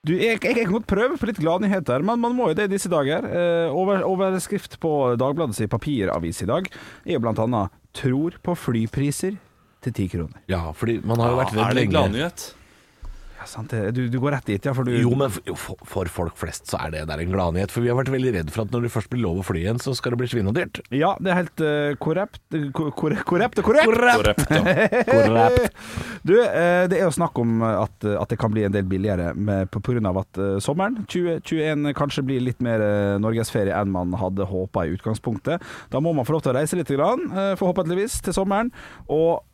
Du, jeg, jeg kan godt prøve på litt gladnyheter, men man må jo det i disse dager. Eh, over, overskrift på Dagbladets papiravis i dag er jo blant annet 'Tror på flypriser til ti kroner'.
Ja, fordi man har jo vært
er
redd
det en
lenge.
gladnyhet?
Ja, sant det. Du, du går rett dit, ja, for du
Jo, men for, jo, for- for folk flest så er det der en gladnyhet. For vi har vært veldig redd for at når det først blir lov å fly igjen, så skal det bli svinedyrt.
Ja, det er helt eh, korrekt kor- kor- Korrekt og korrekt!
Korrekt, ja.
Du, eh, det er jo snakk om at, eh, at det kan bli en del billigere med, på pga. at eh, sommeren 2021 kanskje blir litt mer eh, norgesferie enn man hadde håpa i utgangspunktet. Da må man få lov til å reise litt, grann, eh, forhåpentligvis, til sommeren. Og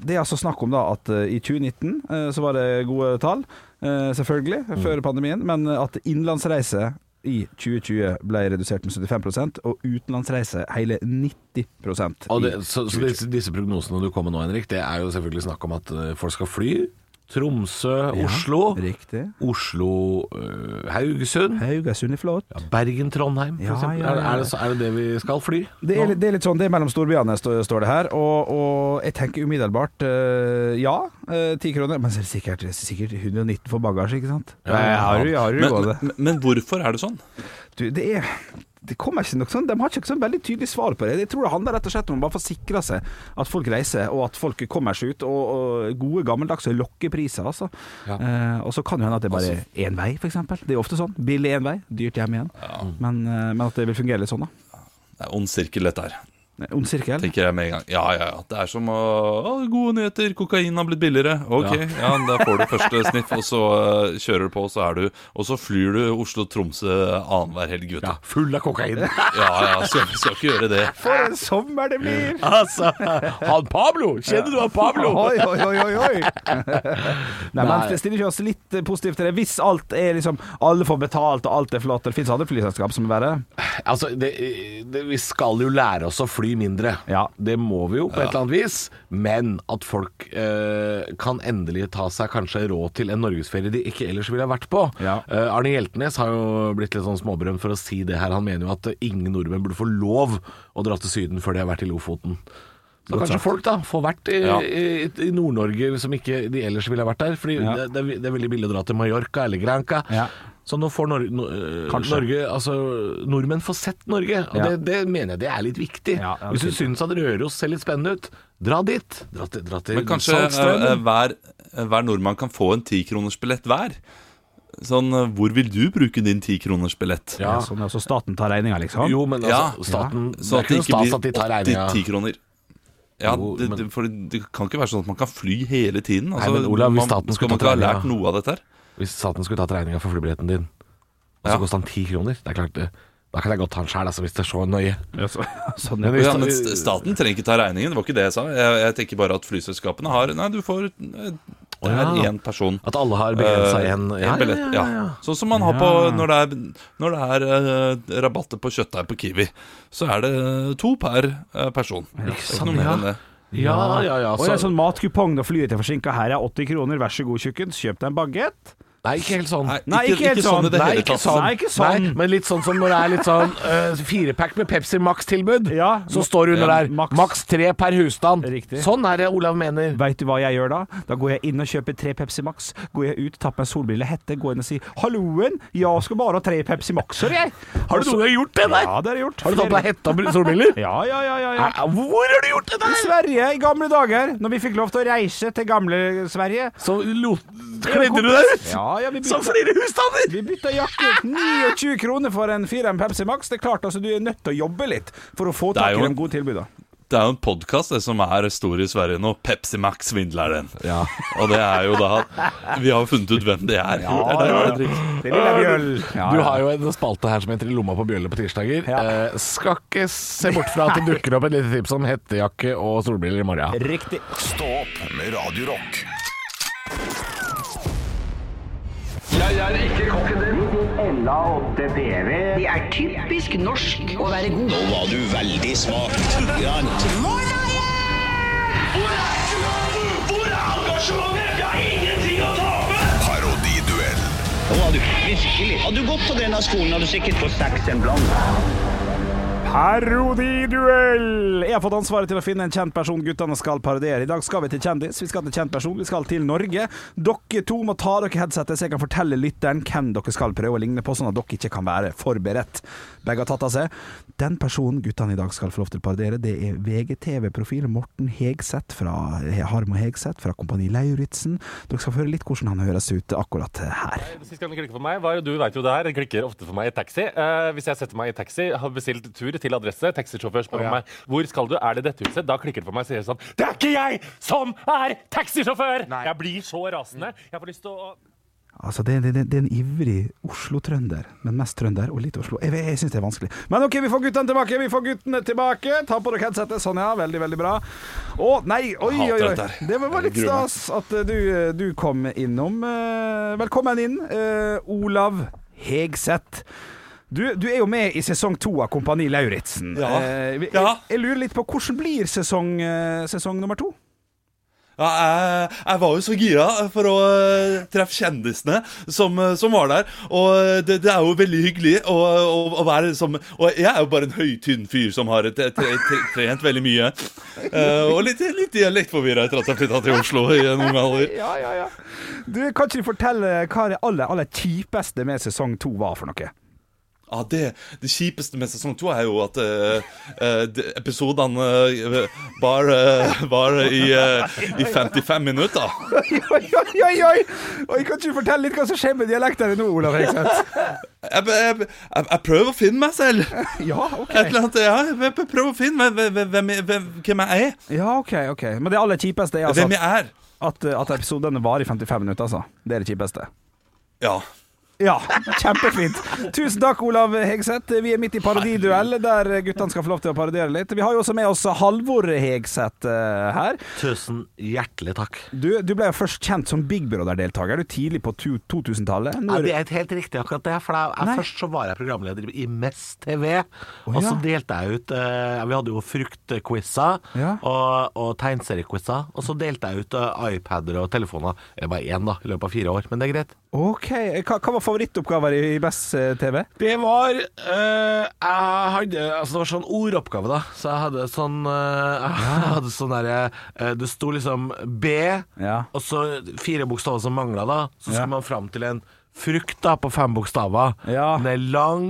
det er altså snakk om da at eh, i 2019 eh, så var det gode tall, eh, selvfølgelig,
Mm.
før pandemien, men at innenlandsreise i 2020 ble redusert med 75 og utenlandsreise hele 90
Og det,
i
så så disse, disse prognosene du kom med nå, Henrik, det er jo selvfølgelig snakk om at eh, folk skal fly. Tromsø, Oslo.
Riktig.
Oslo, eh, Haugesund.
Haugesund er flott.
Bergen, Trondheim, for
Ja,
eksempel.
ja, ja,
Er,
ja.
det- er, det, så- er det det vi skal fly?
Det er,
nå?
litt- det er litt sånn, det er mellom storbyene, står, står det her. Og, og jeg tenker umiddelbart eh, ja, ti kroner. Men så er det sikkert, sikkert 119 for bagasje, ikke sant? Ja, har du, har du
Men,
råd.
men, men hvorfor er det sånn?
Du, det er det kommer ikke noe sånn, De har ikke sånn veldig tydelig svar på det. Jeg tror det handler rett og slett om å bare få sikra seg at folk reiser, og at folk kommer seg ut. Og, og gode, gammeldagse lokkepriser, altså. Eh, og så kan det hende at det bare er én vei, f.eks. Det er ofte sånn. Billig én vei, dyrt hjem igjen. Men, eh, men at det vil fungere litt sånn, da.
Det er ond sirkel, dette her.
Ond sirkel.
Tenker jeg med en gang. Ja, ja, ja. Det er som å å, Gode nyheter, kokain har blitt billigere. Ok, ja, da får du første sniff, og så eh, kjører du på, og så er du Og så flyr du Oslo-Tromsø annenhver helg, vet
Ja,
du.
full av kokain. *laughs*
Ja, ja, skal, skal ikke gjøre det.
For en sommer det blir!
altså, han Pablo! Kjenner du han Pablo?
Oi, oi, oi, oi, oi.
*laughs*
Nei, men
Nei.
det stiller ikke oss litt eh, positivt til det. Hvis alt er liksom Alle får betalt og alt er flott. Det fins andre flyselskap som er verre.
Altså, det, det, vi skal jo lære oss å fly mindre.
Ja.
Det må vi jo på et eller annet vis. Men at folk eh, kan endelig ta seg kanskje råd til en norgesferie de ikke ellers ville ha vært på.
Ja.
Eh, Arne Hjeltnes har jo blitt litt sånn småberømt for å si det her. Han mener jo at eh, ingen nordmenn burde få lov å dra til Syden før de har vært i Lofoten. Så kanskje folk da får vært i,
Ja.
i, i Nord-Norge som ikke de ellers ville ha vært der. Fordi
Ja.
det, det, er- det er veldig billig å dra til Mallorca eller Granca.
Ja.
Så nå får Nor no øh, Norge Altså, nordmenn får sett Norge. Og
Ja.
det, det mener jeg det er litt viktig.
Ja, ja,
Hvis du
det
syns at Røros ser litt spennende ut, dra dit. Dra til, dra til
Men kanskje
Saltstraumen.
eh, hver, hver nordmann kan få en tikronersbillett hver. Sånn, eh, hvor vil du bruke din tikronersbillett?
Ja. Sånn, altså staten tar regninga, liksom?
Jo, men altså,
Ja.
staten Det
Sånn
er
at
ikke
det
noe
ikke
stas at de
blir
tar
80
regninga.
tikroner. Ja,
Jo,
det,
men-
det, for det kan ikke være sånn at man kan fly hele tiden. Altså,
men Olav, hvis
man,
staten
skal
skulle
man
tatt
ikke ha lært
regningen,
noe av dette her?
Hvis staten skulle tatt regninga for flybilletten din, og så
Ja.
koster den ti kroner Det er klart det. Da kan jeg godt ta den sjæl, altså, hvis det er så nøye.
Ja, så, *laughs* sånn,
Men
ja.
hvis
Ja,
da-
men st- Staten trenger ikke ta regningen, det var ikke det jeg sa. Jeg, jeg tenker bare at flyselskapene har Nei, du får eh, Det er
Å, ja.
én person.
At alle har begrensa
Eh,
én
en billett. Ja, Sånn som man har på når det er, når det er eh, rabatter på kjøttdeig på Kiwi. Så er det eh, to per eh, person. Det er Ikke noe mer enn det.
Ja, ja, ja.
Og
Så,
en sånn matkupong da flyet er forsinka, her er 80 kroner, vær så god, tjukken, kjøp deg en bagett.
nei, ikke helt sånn.
Nei,
Nei,
ikke,
ikke helt
ikke sånn
sånn.
i det
Nei,
hele
ikke
tatt.
sånn. Nei, ikke sånn.
Nei, men litt sånn som når det er litt sånn *laughs* uh, firepack med Pepsi Max-tilbud.
Ja.
så står det under
Ja,
der
Max.
maks tre per husstand.
Riktig.
Sånn er det Olav mener.
Veit du hva jeg gjør da? Da går jeg inn og kjøper tre Pepsi Max. Går jeg ut, tar på meg solbrille, hette, går inn og sier 'halloen, jeg skal bare ha tre Pepsi Max-er, jeg'.
Har du noen gang gjort det der?
Ja, det har jeg gjort.
Har du tatt på deg hette og *laughs* solbriller?
Ja, ja, ja, ja, ja.
Nei, Hvor har du gjort det
I
der?
Sverige, i gamle dager, når vi fikk lov til å reise til gamle Sverige
Så lot, kledde du deg ut
Ja, ja, vi
som
bytta,
flere husstander!
vi bytta jakke. 29 kroner for en firem Pepsi Max. Det er klart, altså, du er nødt til å jobbe litt for å få
Det er
tak i
jo-
de gode tilbudene.
Det er jo en podkast som er stor i Sverige nå. Pepsi Max svindler den. Og det er jo da Vi har funnet ut hvem det er. det er der det er dritt.
Det lille bjøll. Ja,
Du har jo en spalte her som heter I lomma på bjølle på tirsdager. Eh, skal ikke se bort fra at det dukker opp et lite tips om hettejakke og solbriller i morgen.
Riktig.
Stå opp med Radio Rock.
Ella 8 PV. Det er typisk norsk å være god. Nå var du veldig smak.
Hvor er engasjementet? Jeg har ingenting å tape!
Parodiduell.
Nå var du virkelig. Hadde du gått på denne skolen, hadde du sikkert fått seks en blant.
Parodiduell! Jeg har fått ansvaret til å finne en kjent person guttene skal parodiere. I dag skal vi til kjendis, vi skal til kjent person, vi skal til Norge. Dere to må ta dere headsetet, så jeg kan fortelle lytteren hvem dere skal prøve å ligne på, sånn at dere ikke kan være forberedt. Begge har tatt av seg. Den personen guttene i dag skal få lov til å parodiere, det er VGTV-profil Morten Hegseth fra Harm og Hegseth fra Kompani Lauritzen. Dere skal få høre litt hvordan han høres ut akkurat her.
Sist gang det klikket for meg var, du vet jo det her, det klikker ofte for meg i taxi. Eh, hvis jeg setter meg i taxi, har bestilt tur til adresse, taxisjåfør spør meg hvor skal du, er det dette huset? Da klikker det for meg, sier jeg sånn, det er ikke jeg som er taxisjåfør! Jeg blir så rasende. Jeg får lyst til å...
Altså, det, det, det, det er en ivrig Oslo-trønder, men mest trønder og litt Oslo. Jeg, jeg, jeg syns det er vanskelig. Men OK, vi får guttene tilbake! Vi får guttene tilbake! Ta på dere headsetet. Sånn, ja. Veldig, veldig bra. Å, nei! Oi, oi,
hater
oi.
dette her.
Det var- var litt
Jeg gruer meg.
stas at eh, du, eh, du kom innom. Eh, Velkommen inn, eh, Olav Hegseth. Du, du er jo med i sesong to av Kompani Lauritzen.
Ja.
Eh, vi-
Ja.
Jeg, jeg lurer litt på hvordan blir sesong, eh, sesong nummer to?
Ja, jeg, jeg var jo så gira for å eh, treffe kjendisene som, eh, som var der. Og eh, det, det er jo veldig hyggelig å, å, å være som Og jeg er jo bare en høytynn fyr som har tre, tre, tre, trent veldig mye. Eh, og litt, litt dialektforvirra etter at jeg flytta til Oslo i en ung alder.
Ja, ja, ja. Du, kan ikke du fortelle hva det aller, aller kjipeste med sesong to var for noe?
Ja, det, det kjipeste med sesong to er jo at eh, eh, de- episodene eh, var, eh, var i, eh, i 55 minutter.
*laughs* Oi, oi, oi, oi, oi! Oi, kan ikke du fortelle litt hva som skjer med dialektene nå, Olav Hegseth?
Jeg, jeg, jeg, jeg prøver å finne meg selv.
*laughs* Ja, OK.
Et eller annet, ja, jeg prøver- prøver å finne hvem, hvem, hvem, hvem, hvem jeg er.
Ja, ok, ok. Men det aller kjipeste er altså
Hvem
at,
jeg er.
at, at episodene varer i 55 minutter, altså. Det er det kjipeste.
Ja.
Ja, kjempefint. Tusen takk, Olav Hegseth. Vi er midt i parodiduell, der guttene skal få lov til å parodiere litt. Vi har jo også med oss Halvor Hegseth eh, her.
Tusen hjertelig takk.
Du, du ble jo først kjent som Big Brother-deltaker. Du er tidlig på tu- 2000-tallet. Nå er
Nei,
du-
det er ikke helt riktig akkurat det. For det er,
Nei.
Først så var jeg programleder i Mest TV. Og
ja.
så delte jeg ut eh, Vi hadde jo fruktquizer
Ja.
og, og tegneseriequizer. Og så delte jeg ut eh, iPader og telefoner. Det var én, da, i løpet av fire år. Men det er greit.
Ok, hva, hva var favorittoppgaver i, i Best eh, TV?
Det var eh, Jeg hadde Altså, det var sånn ordoppgave, da. Så jeg hadde sånn eh, Jeg *laughs* hadde sånn derre eh, Det sto liksom B,
Ja.
og så fire bokstaver som mangla, da. Så
Ja.
skulle man fram til en frukt da, på fem bokstaver. Den er lang,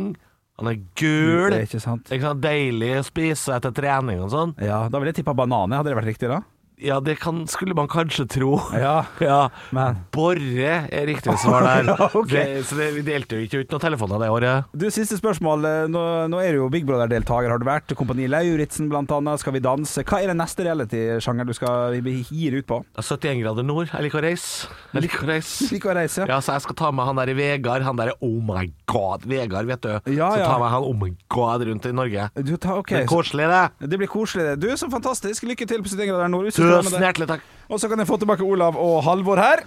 den er gul.
Det er ikke sant.
Ikke sant? Deilig å spise etter trening og sånn.
Ja, Da ville jeg tippa banan. Hadde det vært riktig da?
Ja, det kan, skulle man kanskje tro.
*laughs* Ja,
Ja.
men
Borre er riktig svar
*laughs*
der.
Ok.
det, så det, vi delte jo ikke ut noen telefoner det året.
Du, Siste spørsmål. Eh, Nå, nå er du jo Big Brother-deltaker, har du vært. Kompani Lauritzen, blant annet. Skal vi danse? Hva er den neste reality-sjangeren du skal gi ut på?
71 grader nord. Jeg liker å reise. Jeg liker å
*laughs*
reise.
Liker å reise.
Ja, så jeg skal ta med han der i Vegard. Han der er oh my god, Vegard, vet du.
Ja,
Så
ja.
ta med han oh my god rundt i Norge.
Du, ta, ok,
Det er koselig, det.
så- det blir koselig. det. Du, så fantastisk. Lykke til på 71 grader nord. Hvis du skal med det.
Tusen hjertelig takk.
Og så kan jeg få tilbake Olav og Halvor her.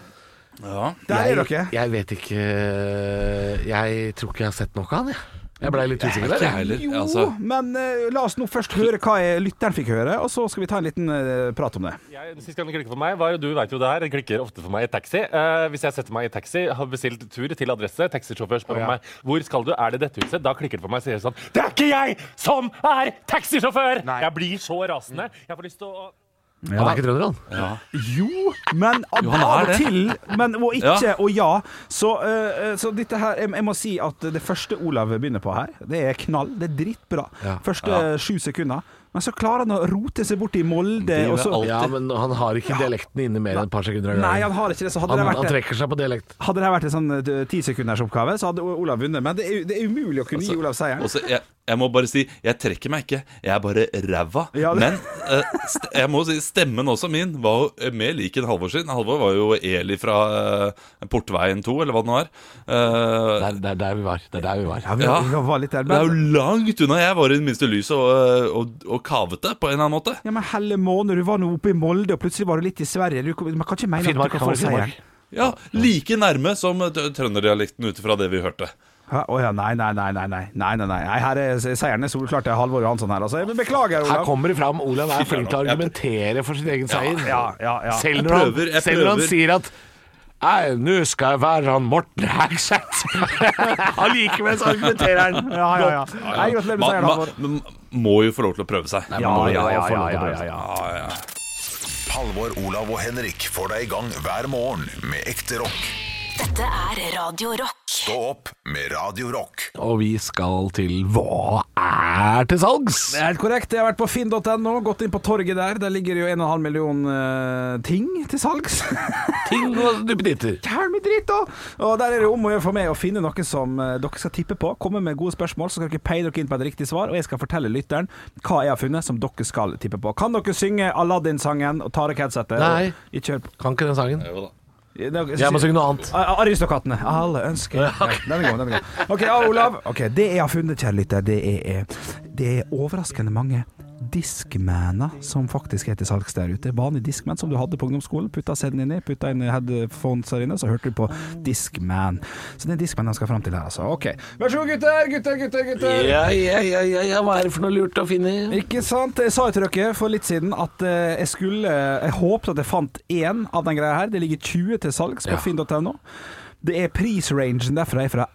Ja.
Der er dere.
Jeg vet ikke eh, Jeg tror ikke jeg har sett noe av han, jeg. Jeg blei litt usikker der.
Ikke jeg heller.
Jo,
Altså,
men eh, la oss nå først høre hva jeg, lytteren fikk høre, og så skal vi ta en liten eh, prat om det.
Jeg, sist gang det klikket for meg, var du vet jo det her, det klikker ofte for meg i taxi. Eh, hvis jeg setter meg i taxi, har bestilt tur til adresse, taxisjåfør spør meg hvor skal du, er det dette huset? Da klikker det for meg og sier sånn Det er ikke jeg som er taxisjåfør! Jeg blir så rasende. Jeg får lyst til å
Han er ikke trønder, han.
Jo, men av
han er
av og
det.
til. Men og ikke
Ja.
og ja. Så, eh, så dette her jeg, jeg må si at det første Olav begynner på her, det er knall. Det er drittbra.
Ja.
Første eh, sju sekunder. Men så klarer han å rote seg bort i Molde,
Det gjør
og så
alt.
Ja, men han har ikke dialekten inne mer enn et par sekunder av
Nei,
gangen.
han har ikke det. Så hadde
Han,
det
han
vært
trekker seg på dialekt.
Hadde det vært en sånn eh, tisekundersoppgave, så hadde Olav vunnet. Men det er, det er umulig å
Altså,
kunne gi Olav seieren.
Og så jeg, jeg må bare si, jeg trekker meg ikke. Jeg er bare ræva.
Ja, det-
Men eh, st jeg må si, stemmen også min var jo mer lik enn Halvor sin. Halvor var jo Eli fra eh, Portveien 2, eller hva det nå er. Eh,
Det er, det er der vi var. Det er der vi var.
Ja, vi,
Ja.
vi var litt der,
det er
men,
jo langt unna jeg var i det minste lyset og, eh, og, og kavete, på en eller annen måte.
ja, men helle måned, du var nå oppe i Molde, og plutselig var du litt i Sverige. Du, man kan ikke mene at
Finnmark,
du kan få
Finnmark, Finnmark.
seieren.
Ja, Like nærme som eh, tø- trønderdialekten ut ifra det vi hørte.
Hæ? Å ja, nei, nei, nei, nei, nei, nei, nei, nei. nei. Her er seieren er soleklart. Det er Halvor Johansson her, altså. Men beklager,
Her
Olav.
kommer det fram. Olav er flink til å argumentere for sin egen seier.
Ja, ja, ja.
Selv
Jeg
når han,
prøver, jeg
selv når han
prøver.
sier at Nei, nå skal jeg være han Morten Hegseth. Allikevel så argumenterer han.
Ja, ja, ja. Nei, gratulerer med seieren, Halvor.
man må jo få lov til å prøve seg.
Ja,
Man må jo-
ja, ja, ja, ja, ja.
Ja, ja.
Halvor, Olav og Henrik får deg i gang hver morgen med ekte rock.
Dette er Radio Rock.
Stå opp med Radio Rock.
Og vi skal til Hva er til salgs?
Det er helt korrekt. Jeg har vært på finn.no, gått inn på torget der. Der ligger jo 1,5 million eh, ting til salgs.
*laughs* Ting og duppeditter.
Kjæren min dritt, da! Og der er det om å gjøre for meg å finne noe som eh, dere skal tippe på. Komme med gode spørsmål, så skal dere peie dere inn på et riktig svar. Og jeg skal fortelle lytteren hva jeg har funnet som dere skal tippe på. Kan dere synge Aladdin-sangen og Tarek Hedsete?
Nei.
Og Ikke hør på
Kan ikke den sangen.
Jo da.
Jeg må synge noe annet.
A- Aristokattene. Alle ønsker Nei, Den er god. den er god Ok, ja, Olav. Ok, Det jeg har funnet, kjære lytter, det er, eh, det er overraskende mange diskmaner som faktisk er til salgs der ute. Vanlig diskman som du hadde på ungdomsskolen. Putta CD-en inni, putta inn headphones her inne, så hørte du på Diskman. Så det er Diskman jeg skal fram til her, altså. Ok. Vær så god, gutter! Gutter, gutter, gutter!
Ja, ja, ja, ja, ja, hva er det for noe lurt å finne?
Ikke sant? Jeg sa jo til dere for litt siden at eh, jeg skulle Jeg håpet at jeg fant én av den greia her. Det ligger 20 til salgs på finn.no. Det er prisrangen derfra er fra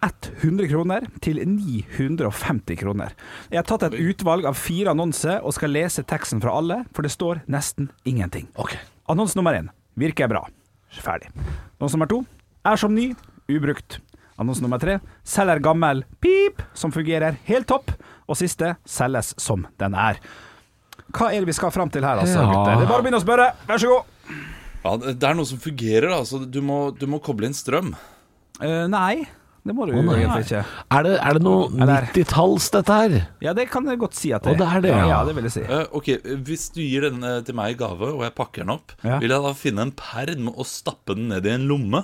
100 kroner til 950 kroner. Jeg har tatt et utvalg av fire annonser og skal lese teksten fra alle, for det står nesten ingenting.
Ok.
Annonse nummer én virker bra. Ferdig. Annonse nummer to er som ny, ubrukt. Annonse nummer tre selger gammel pip, som fungerer helt topp. Og siste selges som den er. Hva er det vi skal fram til her, altså,
Ja.
gutter? Det er bare å begynne å spørre. Vær så god.
Ja, det det er noe som fungerer, da. Så du må, du må koble inn strøm.
Eh, nei, det må du
nei.
egentlig ikke.
Er det, er det noe
der.
90-talls, dette her?
Ja, det kan jeg godt si at
Å, det er det,
ja.
ja.
ja, det vil jeg si.
Eh, ok, Hvis du gir den eh, til meg i gave, og jeg pakker den opp,
Ja.
vil jeg da finne en perm og stappe den ned i en lomme?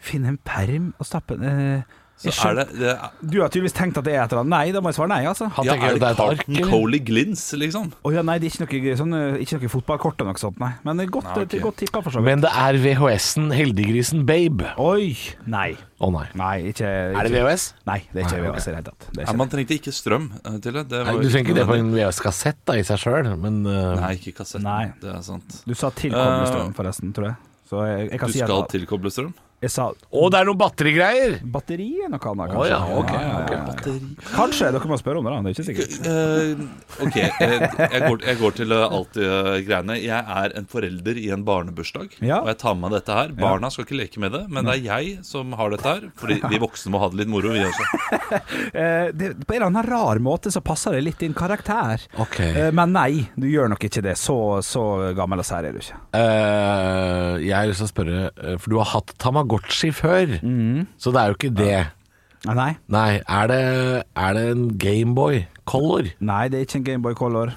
Finne en perm og stappe den eh,
Så
jeg skjønner-
er det, det er,
Du har tydeligvis tenkt at det er et eller annet. Nei, da må jeg svare nei, altså.
Han
ja,
tenker
er
det
det
er et ark,
Carlton
eller?
Coley Glints, liksom?
Å ja, nei, det er ikke noe, sånn, eh, ikke noe fotballkort eller noe sånt, nei. Men det er godt,
Nei, ok.
eh, godt tippa, for så vidt.
Men det er VHS-en Heldiggrisen Babe.
Oi! Nei.
Å nei.
Nei, ikke, ikke.
Er det VHS?
Nei, det er ikke VHS i det hele tatt. Det er
Ja,
ikke
man trengte ikke strøm eh, til det. det
Nei,
var
du trenger ikke det på
nødvendig.
en VHS-kassett da, i seg sjøl, men uh,
Nei, ikke kassett.
Nei.
Det er sant.
det. Du sa tilkoble strøm, forresten, tror jeg. Så jeg, jeg kan
Du
si
skal
at
tilkoble strøm?
Jeg sa
Å, det er noen batterigreier!
Batteri er noe annet,
Å
kanskje.
ja, ok.
Kanskje. Dere må spørre om det, da. Det er ikke sikkert.
Eh, ok, eh, jeg går, jeg går til eh, alt de eh, greiene. Jeg er en forelder i en barnebursdag,
Ja.
og jeg tar med meg dette her. Barna skal ikke leke med det, men det er jeg som har dette her. *laughs* Fordi vi voksne må ha det litt moro, vi også.
Eh, det, på en eller annen rar måte så passer det litt din karakter.
Ok.
Eh, men nei, du gjør nok ikke det. Så, så gammel og sær er du ikke.
Eh, jeg har lyst til å spørre, eh, for du har hatt Tamagotchi før,
Mhm.
så det er jo ikke det.
Ah, Nei.
Nei, er det, er det en Gameboy Color?
nei, det er ikke en Gameboy Color.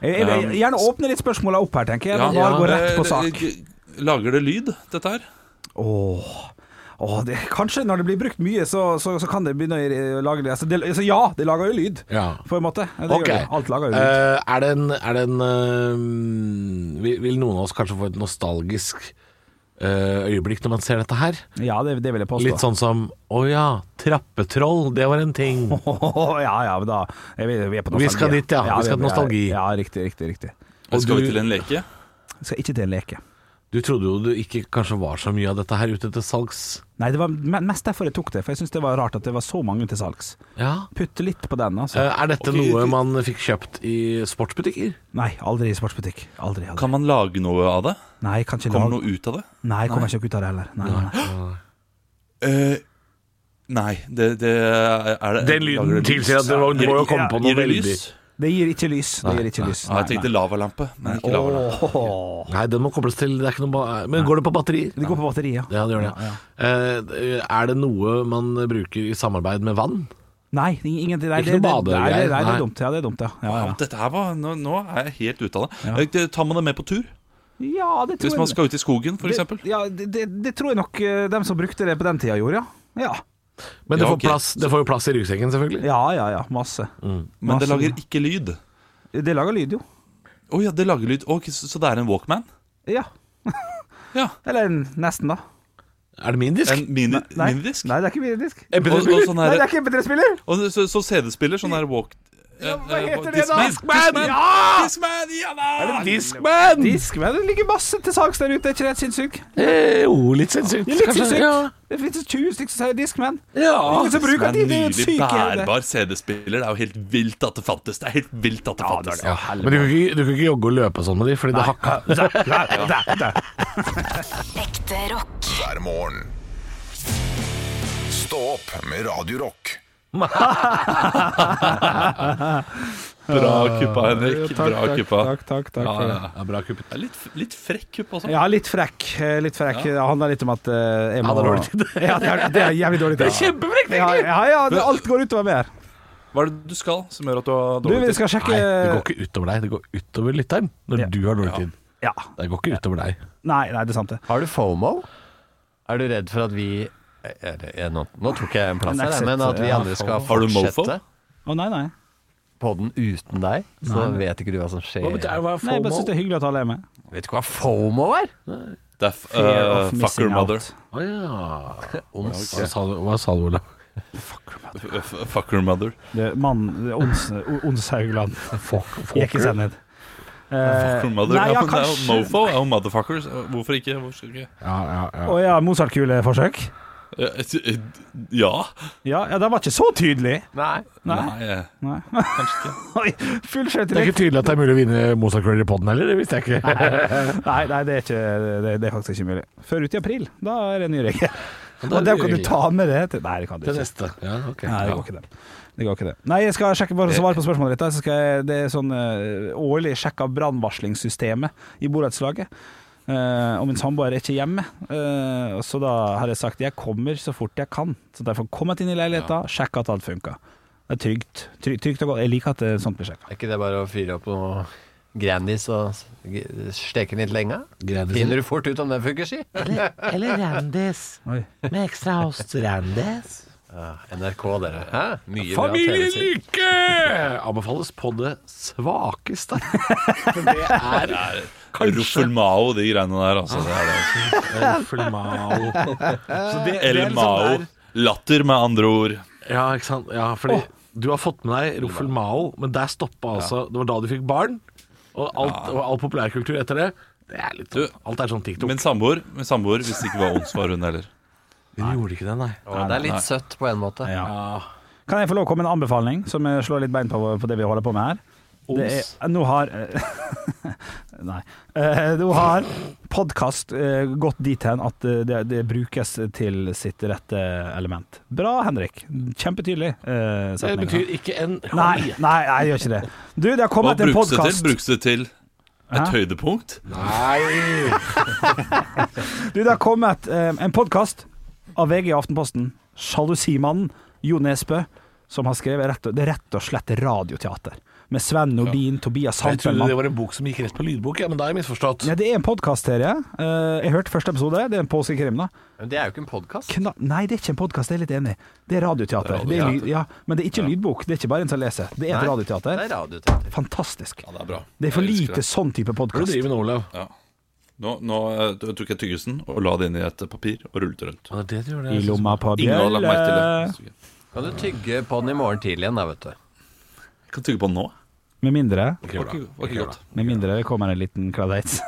Jeg, jeg, vil gjerne åpne litt spørsmåla opp her, tenker jeg.
Ja,
men bare gå
ja.
rett på
Eh,
sak.
g- Lager det lyd, dette her?
Åh, åh det, kanskje når det blir brukt mye, så, så, så kan det begynne å i- lage lyd. Altså, det, altså ja, det lager jo lyd,
Ja.
på en måte. Ja, Det
Ok.
gjør det. Alt lager jo lyd.
Eh, er det en, er det en eh, vil, vil noen av oss kanskje få et nostalgisk eh, øyeblikk når man ser dette her?
ja, det, det vil jeg påstå.
Litt
*laughs*
sånn som Å ja, trappetroll, det var en ting.
ja, ja, men da jeg, vet- Vi er på
Vi
nostalgi.
skal dit, ja. Vi skal til
er-
nostalgi.
Ja, riktig, riktig. riktig
Og
Skal vi
du-
til en leke?
Jeg skal ikke til en leke.
Du trodde jo det ikke kanskje var så mye av dette her ute til salgs.
Nei, det var me- mest derfor jeg tok det, for jeg syns det var rart at det var så mange til salgs.
Ja.
Putte litt på den, altså.
Eh, er dette
Ok,
noe
ok.
man fikk kjøpt i sportsbutikker?
Nei, aldri i sportsbutikk. Aldri. aldri.
Kan man lage noe av det?
Nei, kan ikke
Kommer
lage
noe ut av det?
Nei, kommer ikke ut av det heller. Nei, nei, nei.
Eh, nei, det, det er det
Den lyden
lager det lys?
tilsier at det var- du må jo
Gir-
komme på noe
gir det
veldig.
lys?
Det gir ikke lys. Det gir ikke lys.
Ja, jeg tenkte lavalampe, men ikke lavalampe.
Åh.
Nei, den må kobles til. Det er ikke noe ba Men går det på batterier?
Det går på batteri, ja.
Ja, det gjør det. Eh, er det noe man bruker i samarbeid med vann?
Nei, ing- ingenting. Nei,
Ikke
det-
noe
det-
badegreier,
Nei, det- nei, det
nei.
er dumt. Ja, det er dumt, ja. Ja,
Ja,
ja.
men dette her var, nå, nå er jeg helt ute av det. Eh, Tar man det med på tur?
ja det tror
Hvis
jeg
man skal ut i skogen, f.eks.?
det, ja, det, det, det tror jeg nok eh, dem som brukte det på den tida, gjorde, ja. Ja,
Men det,
Ja,
får
ok.
plass, det får jo plass i ryggsekken, selvfølgelig.
ja, ja. ja masse.
Men det
masse.
lager ikke lyd. Å
Det lager lyd, jo.
ja, det lager lyd. Ok, så, så det er en Walkman?
Ja.
Ja.
*laughs* Eller en- nesten, da.
Er det min disk?
En mini,
Nei,
minidisk?
nei det er ikke minidisk.
Og, og, sånn
Nei, det er
her,
ikke MP3-spiller!
og så, så CD-spiller, sånn her walk...
Ja, hva
eh, eh,
heter det da?
Discman! Discman!
Ja!
Discman! Ja da! Mm.
Diskman!
Disk, men det ligger masse til salgs der ute, er ikke det helt sinnssykt?
Eh, jo, litt sinnssykt.
Det er litt
kanskje.
sinnssykt.
Ja.
Det finnes 20 stykker som sier Discman.
Ja.
Ingen som bruker
Discman,
de, det er jo et
Nylig
syke hele.
bærbar CD-spiller. Det er jo helt vilt at det fantes. Det er helt vilt at det fantes.
Men du kan, ikke, du kan ikke jogge og løpe sånn med de, fordi det hakka.
Ekte rock.
hver morgen. Stå opp med Radio Rock.
Bra kuppa, Henrik.
Takk,
Bra
takk,
kuppa.
takk, takk, takk
Ja,
for
ja,
det.
ja. Det er Litt, litt frekk kupp også.
Ja, litt frekk. eh, Litt frekk. Det handler litt om at eh, jeg må
Han har dårlig tid.
*laughs* Ja, det er, det er jævlig dårlig tid. Det er kjempefrekt, egentlig! Ja, ja, ja det, alt går utover meg her.
Hva er det du skal som gjør at du har
Du, vi
dårlig tid?
skal sjekke
Nei, det går ikke utover deg. Det går utover lytteren når
Ja.
du har dårlig tid.
Ja.
Det går ikke utover deg.
Nei, nei, det er sant, det.
Har du FOMO? Er du redd for at vi eh, er, er, nå, nå tok jeg en plass
En
her,
exit,
men at vi
ja,
andre skal
Har du mofo?
fortsette
Å, nei, nei.
podden uten deg. Så vet ikke du hva som skjer.
nei jeg bare syns det er hyggelig at alle er med.
Vet du ikke hva FOMO er?
Det er f-
Fear
eh,
of
fuck
missing
your mother.
out.
Å ja. Hva sa du- Hva sa du, Olav?
F- f- Fuck your mother.
Det er Mann det er Ons O- Ons *laughs* Haugland. Gikk i sannhet.
Fuck your mother.
Eh, nei, ja,
ja, men *laughs* det er jo
kanskje-
mofo er jo motherfuckers. Eh, Hvorfor ikke? Hvorfor skal ikke?
Ja, ja, ja.
Å ja, Mozart-kuleforsøk?
Ja, et- et- Ja.
Ja, ja, den var ikke så tydelig.
Nei.
Nei. *laughs*
Nei. eh,
Nei.
Kanskje ikke.
Oi, full
Det er
sjøltillit.
ikke tydelig at det er mulig å vinne Mozart-Credit i podden heller, det visste jeg ikke.
Nei, nei det, er ikke, det, det er faktisk ikke mulig. Før ut i april, da er det en ny regel.
da er
Og
det
den
ny
kan du
regel.
ta med det til Nei, det kan du
Til
ikke.
neste. *laughs* Ja, ok.
Nei, det går ikke det. Det går ikke det. Nei, jeg skal sjekke bare svare på spørsmålet ditt. da. Så skal jeg, det er sånn eh, årlig sjekk av brannvarslingssystemet i borettslaget. Eh, og min samboer er ikke hjemme, Eh, så da har jeg sagt jeg kommer så fort jeg kan. Så derfor kommet inn i leiligheten, sjekk at alt funker. Det er trygt. Trygt, trygt og godt. Jeg liker at det, sånt blir sjekka.
Er ikke det bare å fyre opp noe Grandis og s- g- steke den litt lenge?
Grandis.
Finner du fort ut om den funker, si?
Eller
*laughs*
Randis.
Oi.
Med ekstra ost. Randis.
Ja, NRK, dere. Hæ? Mye bra
Familien
TV-serier.
Lykke! *laughs* Anbefales på det svakeste. For det er
Ruffelmao, de greiene der, altså. Det er det.
Ruffelmao. Så det- det er
Eller
liksom
Mao.
der-
Latter, med andre ord.
Ja, ikke sant. Ja, fordi du har fått med deg Ruffelmao, men der stoppa altså Det var da du fikk barn, og alt, og all populærkultur etter det Det er litt sånn. Alt er sånn TikTok.
Min samboer, min samboer visste ikke hva ånds var, hun heller.
Hun gjorde ikke det, nei.
Å, det er litt søtt på en måte.
Kan jeg få lov å komme med en anbefaling som eh, slår litt bein på, på det vi holder på med her? Det er, nå har *laughs* Nei. Eh, nå har podkast eh, gått dit hen at eh, det, det brukes til sitt rette element. Bra, Henrik. Kjempetydelig. eh,
Det
setning.
betyr ikke en
Nei, nei, jeg gjør ikke det. Du, det har
Hva
kommet en
brukes det til?
podkast
Brukes det til et høydepunkt?
Nei!
Du, det har kommet eh, en podkast av VG og Aftenposten. Sjalusimannen Jo Nesbø, som har skrevet rett og, det er rett og slett radioteater. Med Sven Nordin, Tobias
Jeg trodde det
Hampelmann.
var en bok som gikk rett på lydbok, ja, men da har jeg misforstått.
Ja, det er en podkastserie. Uh, jeg hørte første episode. Det er en polske krim, da.
Men det er jo ikke en podkast.
Kna nei, det er ikke en podkast, jeg er litt enig. Det er radioteater. Det er lyd, ja, men det er ikke lydbok. Det er ikke bare en som leser. Det er et
Nei,
radioteater.
Det er radioteater.
Fantastisk.
Ja, det er bra.
Det er for
Jeg elsker
lite
det.
sånn type
Hva er det du
podkast.
driver med nå, Olav?
Ja. Nå, nå eh, tok jeg tyggisen og la det inn i et papir og rullet det rundt.
Ja, det er det du gjør,
I
det.
lomma på
Ingen hadde lagt merke
bjelle.
til det.
Kan du tygge på den i morgen tidlig igjen, da, vet du.
Jeg kan tygge på den nå.
Med mindre,
Det var ikke, var ikke godt.
med mindre det kommer en liten kladeits.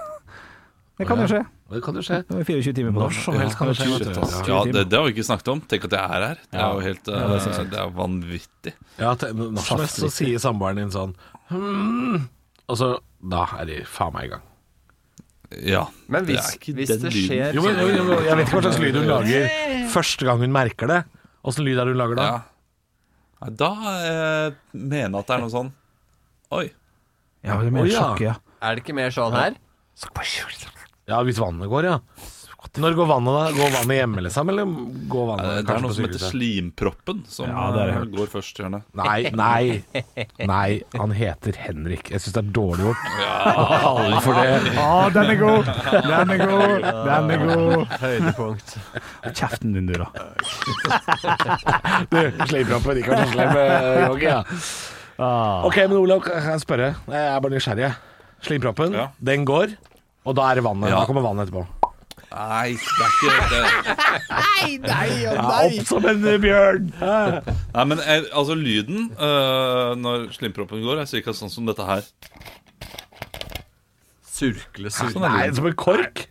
*laughs* Det kan jo skje.
Det kan jo skje.
Det var 24 timer på
Når
det.
som helst kan det skje. vet du.
Ja, det, det har vi ikke snakket om. Tenk at jeg er her. Det er jo helt eh, Det er vanvittig.
Ja, te- når som helst så sier samboeren din sånn hmm. Og så Da er de faen meg i gang.
Ja.
Men
det
hvis,
er ikke
hvis
den
det
lyden.
skjer
Jo, men, jo, jo, jo, jeg vet ikke hva slags lyd hun lager første gang hun merker det. Åssen lyd er det hun lager da?
Ja. Nei, Da eh, mener jeg at det er noe sånn Oi.
Ja, det er mer
Å, ja.
sjokk, ja.
Er det ikke mer sånn her?
Ja, hvis vannet går, ja. Når går vannet da? Går vannet hjemme, liksom? Eller går
Nei,
vannet
Det er
kanskje
noe
på
som heter
sykehuset?
slimproppen, som
Ja, det har jeg
eh,
hørt.
går først. Gjerne.
Nei, nei. Nei, han heter Henrik. Jeg syns det er dårlig gjort. Alle for det.
Å, den er god! Den er god! Den er god!
*laughs* Høydepunkt.
Hold Kjeften din, du, da.
Du, slimproppen ikke var så slem, eh, Jogge. Ja. Ok, men Olav, kan jeg spørre? Jeg er bare nysgjerrig. Slimproppen,
Ja.
den går, og da er det vannet.
Ja.
Da kommer vannet etterpå.
Nei, det er ikke det.
Ja, opp som en bjørn!
Nei, men eh, altså lyden eh, når slimproppen går, er cirka sånn som dette her.
Surkle, surkle.
Sånn er
Nei,
lyden.
som en kork.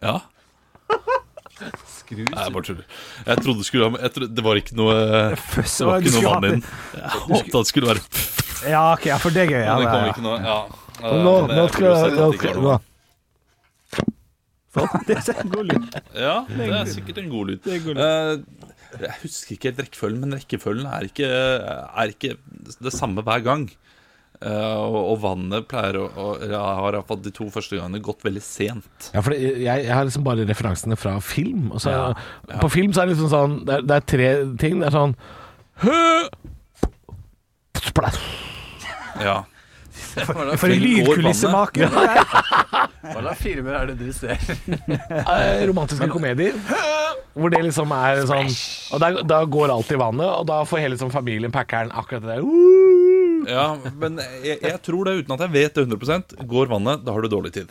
Ja. Skru Nei, jeg bare tuller. Jeg trodde det skulle ha jeg trodde, Det var ikke noe eh,
Føss,
Det var
du
ikke noe
skulle
vann
hatt
inn. Jeg håpet at det skulle være
det. Ja, ok, ja, for det er gøy. Ja,
Men det
det,
kom
ja.
ikke noe Ja. Eh,
Nå,
men
nå
jeg
skal
ville sett at det
jeg
ikke var
nå-
noe.
Sånn, det er en god lyd.
Ja, det er sikkert en god lyd. Eh, jeg husker ikke helt rekkefølgen, men rekkefølgen er ikke, er ikke det samme hver gang. Eh, og, og vannet pleier å å- eller har iallfall de to første gangene gått veldig sent.
Ja, for det- jeg, jeg har liksom bare referansene fra film. Og så, På film så er det liksom sånn Det er, det er tre ting. Det er sånn Hø! Splash.
Ja.
For en
Går
lydkulissemaker.
*laughs*
Hva slags filmer er det du ser?
Eh, Romantiske komedier. Hø! Hvor det liksom er sånn Og da, da går alt i vannet, og da får hele liksom familien packeren akkurat det der. Uh!
Ja, men jeg, jeg tror det, uten at jeg vet det 100 Går vannet, da har du dårlig tid.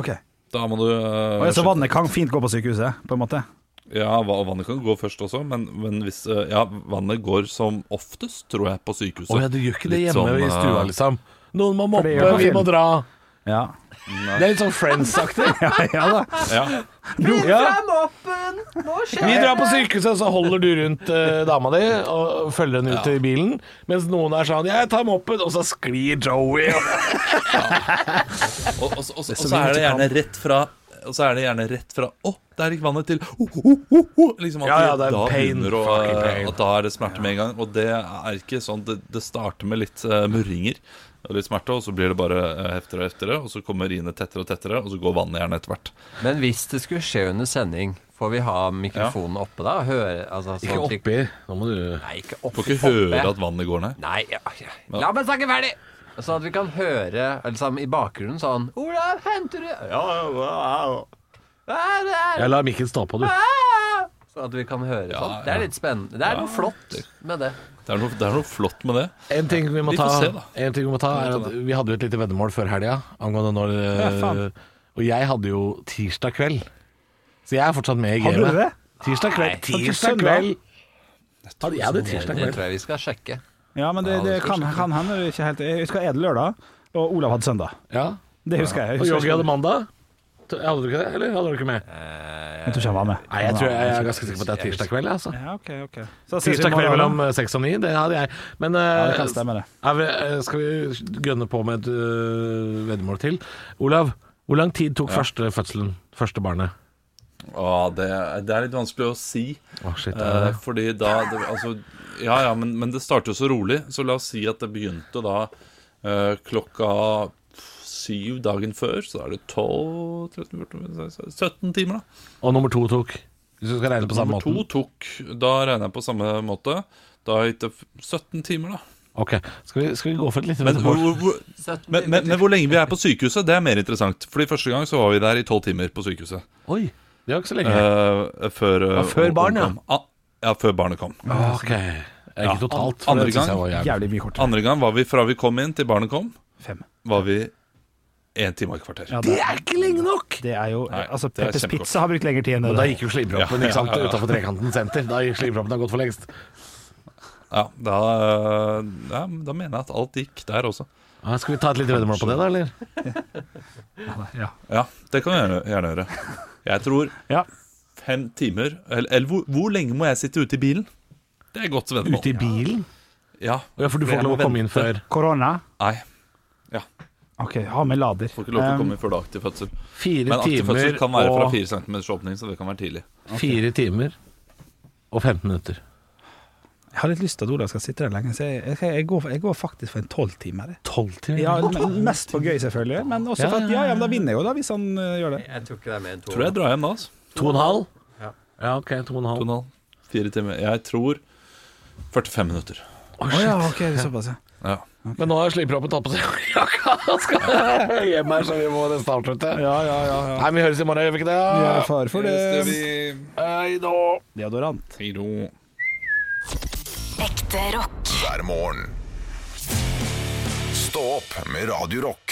Ok.
Da må du øh,
Og så
skynde-
vannet kan fint gå på sykehuset, på en måte.
Ja, va- vannet kan gå først også, men, men hvis øh, Ja, vannet går som oftest, tror jeg, på sykehuset.
Å ja, du gjør ikke det
Litt
hjemme
sånn,
i stua,
øh,
liksom. Noen må
det
mobbe,
gjør man
vi
film.
må dra.
Ja.
Det er litt sånn Friends-aktig.
Ja, ja da.
Ja,
Ja. Vi drar på sykehuset, så holder du rundt eh, dama di og følger henne ut i bilen. Mens noen er sånn 'Jeg tar moppen', og så sklir Joey.
og, og, og, og, så er det gjerne rett fra og så er det gjerne rett fra 'Å, der gikk vannet' til oh, oh, oh, oh, liksom at
Ja, ja, det er
da
pain.
begynner å,
Fucking pain.
At da er det smerte med en gang. Og det er ikke sånn Det, det starter med litt eh, murringer og litt smerte, og så blir det bare eh, heftigere og heftigere, og så kommer riene tettere og tettere, og så går vannet gjerne etter hvert.
Men hvis det skulle skje under sending, får vi ha mikrofonen oppe da? og Høre, altså, sånn at vi-
Nå må du
Nei, ikke
Får
oppi.
ikke høre at vannet går ned.
Nei, ja, ja. la meg snakke ferdig! Sånn at vi kan høre liksom, i bakgrunnen sånn Olav, henter du Ja, ja, ja. Hva er det her?
Jeg lar mikken stå på, du.
Ah! Sånn at vi kan høre sånn.
ja.
Det er litt spennende. Det er noe flott med det.
Det er noe, det er noe flott med det.
En ting vi må
Vi
ta,
får se, da.
en ting vi, må ta er at vi hadde jo et lite veddemål før helga angående når eh,
faen.
Og jeg hadde jo tirsdag kveld. Så jeg er fortsatt med i
Hadde du det?
gamet. Tirsdag kveld. Tirsdag kveld. Hadde jeg det tirsdag
Det
kveld?
tror jeg vi skal sjekke.
Ja, men det, det kan, kan hende du ikke helt Jeg husker jeg hadde lørdag, og Olav hadde søndag.
Ja.
Det husker jeg. jeg
Og
husker
Yogi hadde mandag? T- Hadde du ikke det, eller hadde du ikke med?
Jeg tror ikke han var med.
Nei, jeg, tror jeg, er ganske sikker på at det er tirsdag kveld. Altså.
Ja, ok, ok.
Tirsdag kveld mellom eh, seks og ni, det hadde jeg. Men eh,
Ja, det kan stemme, det.
er vi, eh, skal vi gønne på med et eh, veddemål til? Olav, hvor lang tid tok første fødselen? Første barnet?
Å, det, er- det er litt vanskelig å si.
Å, shit, det er
eh,
det.
fordi da det, altså, Ja, ja, men, men det starter jo så rolig. Så la oss si at det begynte da eh, klokka syv dagen før. Så da er det 12 13, 14, 16, 17 timer, da.
Og nummer to tok? Hvis du skal regne på samme
Nummer
måten.
to tok Da regner jeg på samme måte. Da gikk det f- 17 timer, da.
Ok, skal vi, skal vi gå for et lite
Men, hvor,
veddemål?
hvor, hvor, men, men, men hvor lenge vi er på sykehuset, det er mer interessant. Fordi første gang så var vi der i tolv timer på sykehuset.
Oi, det var ikke så lenge.
Eh, før eh,
Ja, før
hun
barn, ja.
kom. Ah, ja, før barnet kom.
Ok. Ikke totalt, for
Andre
det synes
gang,
jeg var jævlig.
Jævlig mye kortere.
andre gang var vi fra vi kom inn til barnet kom,
Fem.
var vi én time og et kvarter.
Ja,
Det er ikke lenge nok!
Det er jo
Nei,
Altså,
det er
Peppers
kjempegodt.
Pizza har brukt lengre tid enn det.
Og da
der.
gikk jo sliproppen ikke sant, utenfor Trekanten senter. Da gikk sliproppen har gått for lengst.
Ja, da, eh, ja, da mener jeg at alt gikk der også.
Ja, Ah, skal vi ta et lite veddemål på det, da? eller?
Ja, det kan vi gjerne, gjerne gjøre. Jeg tror
Ja.
fem timer Eller, eller hvor, hvor lenge må jeg sitte ute i bilen? Det er godt veddemål.
Ute i bilen?
Ja.
Ja, for du får
Jeg
ikke lov
må
å komme inn før
Korona.
Nei,
OK, ha med lader.
får ikke lov til å
Um,
komme inn før dag til fødsel. Men
fire
aktiv fødsel
timer
kan være fra
og
4 cm åpning, så det kan være tidlig.
Fire timer og 15 minutter.
Jeg har litt lyst til at Olav skal sitte der lenge, så jeg, jeg, jeg, går, for- jeg går faktisk for en tolvtimer. jeg.
Tolv timer?
Ja, m- mest for gøy, selvfølgelig, men også for at ja, ja, men da vinner jeg jo, da, hvis han øh, gjør det.
Jeg tror ikke det er mer enn to.
Tror jeg drar hjem da, altså.
To og en halv?
Ja.
Ja, ok, to og en
To og
halv.
en halv. Fire timer. Jeg tror 45 minutter.
Å ja, ok, det er såpass, ja.
Ja.
Men nå har sliproppen tatt på seg *laughs* jakka. Han skal hjem her, så vi må nesten avslutte.
Ja, ja, ja. ja.
Nei, vi høres i morgen, gjør vi ikke det?
Vi er far for det.
Hei da.
Deodorant.
Hei då.
Ekte rock.
hver morgen. Stå opp med Radio Rock.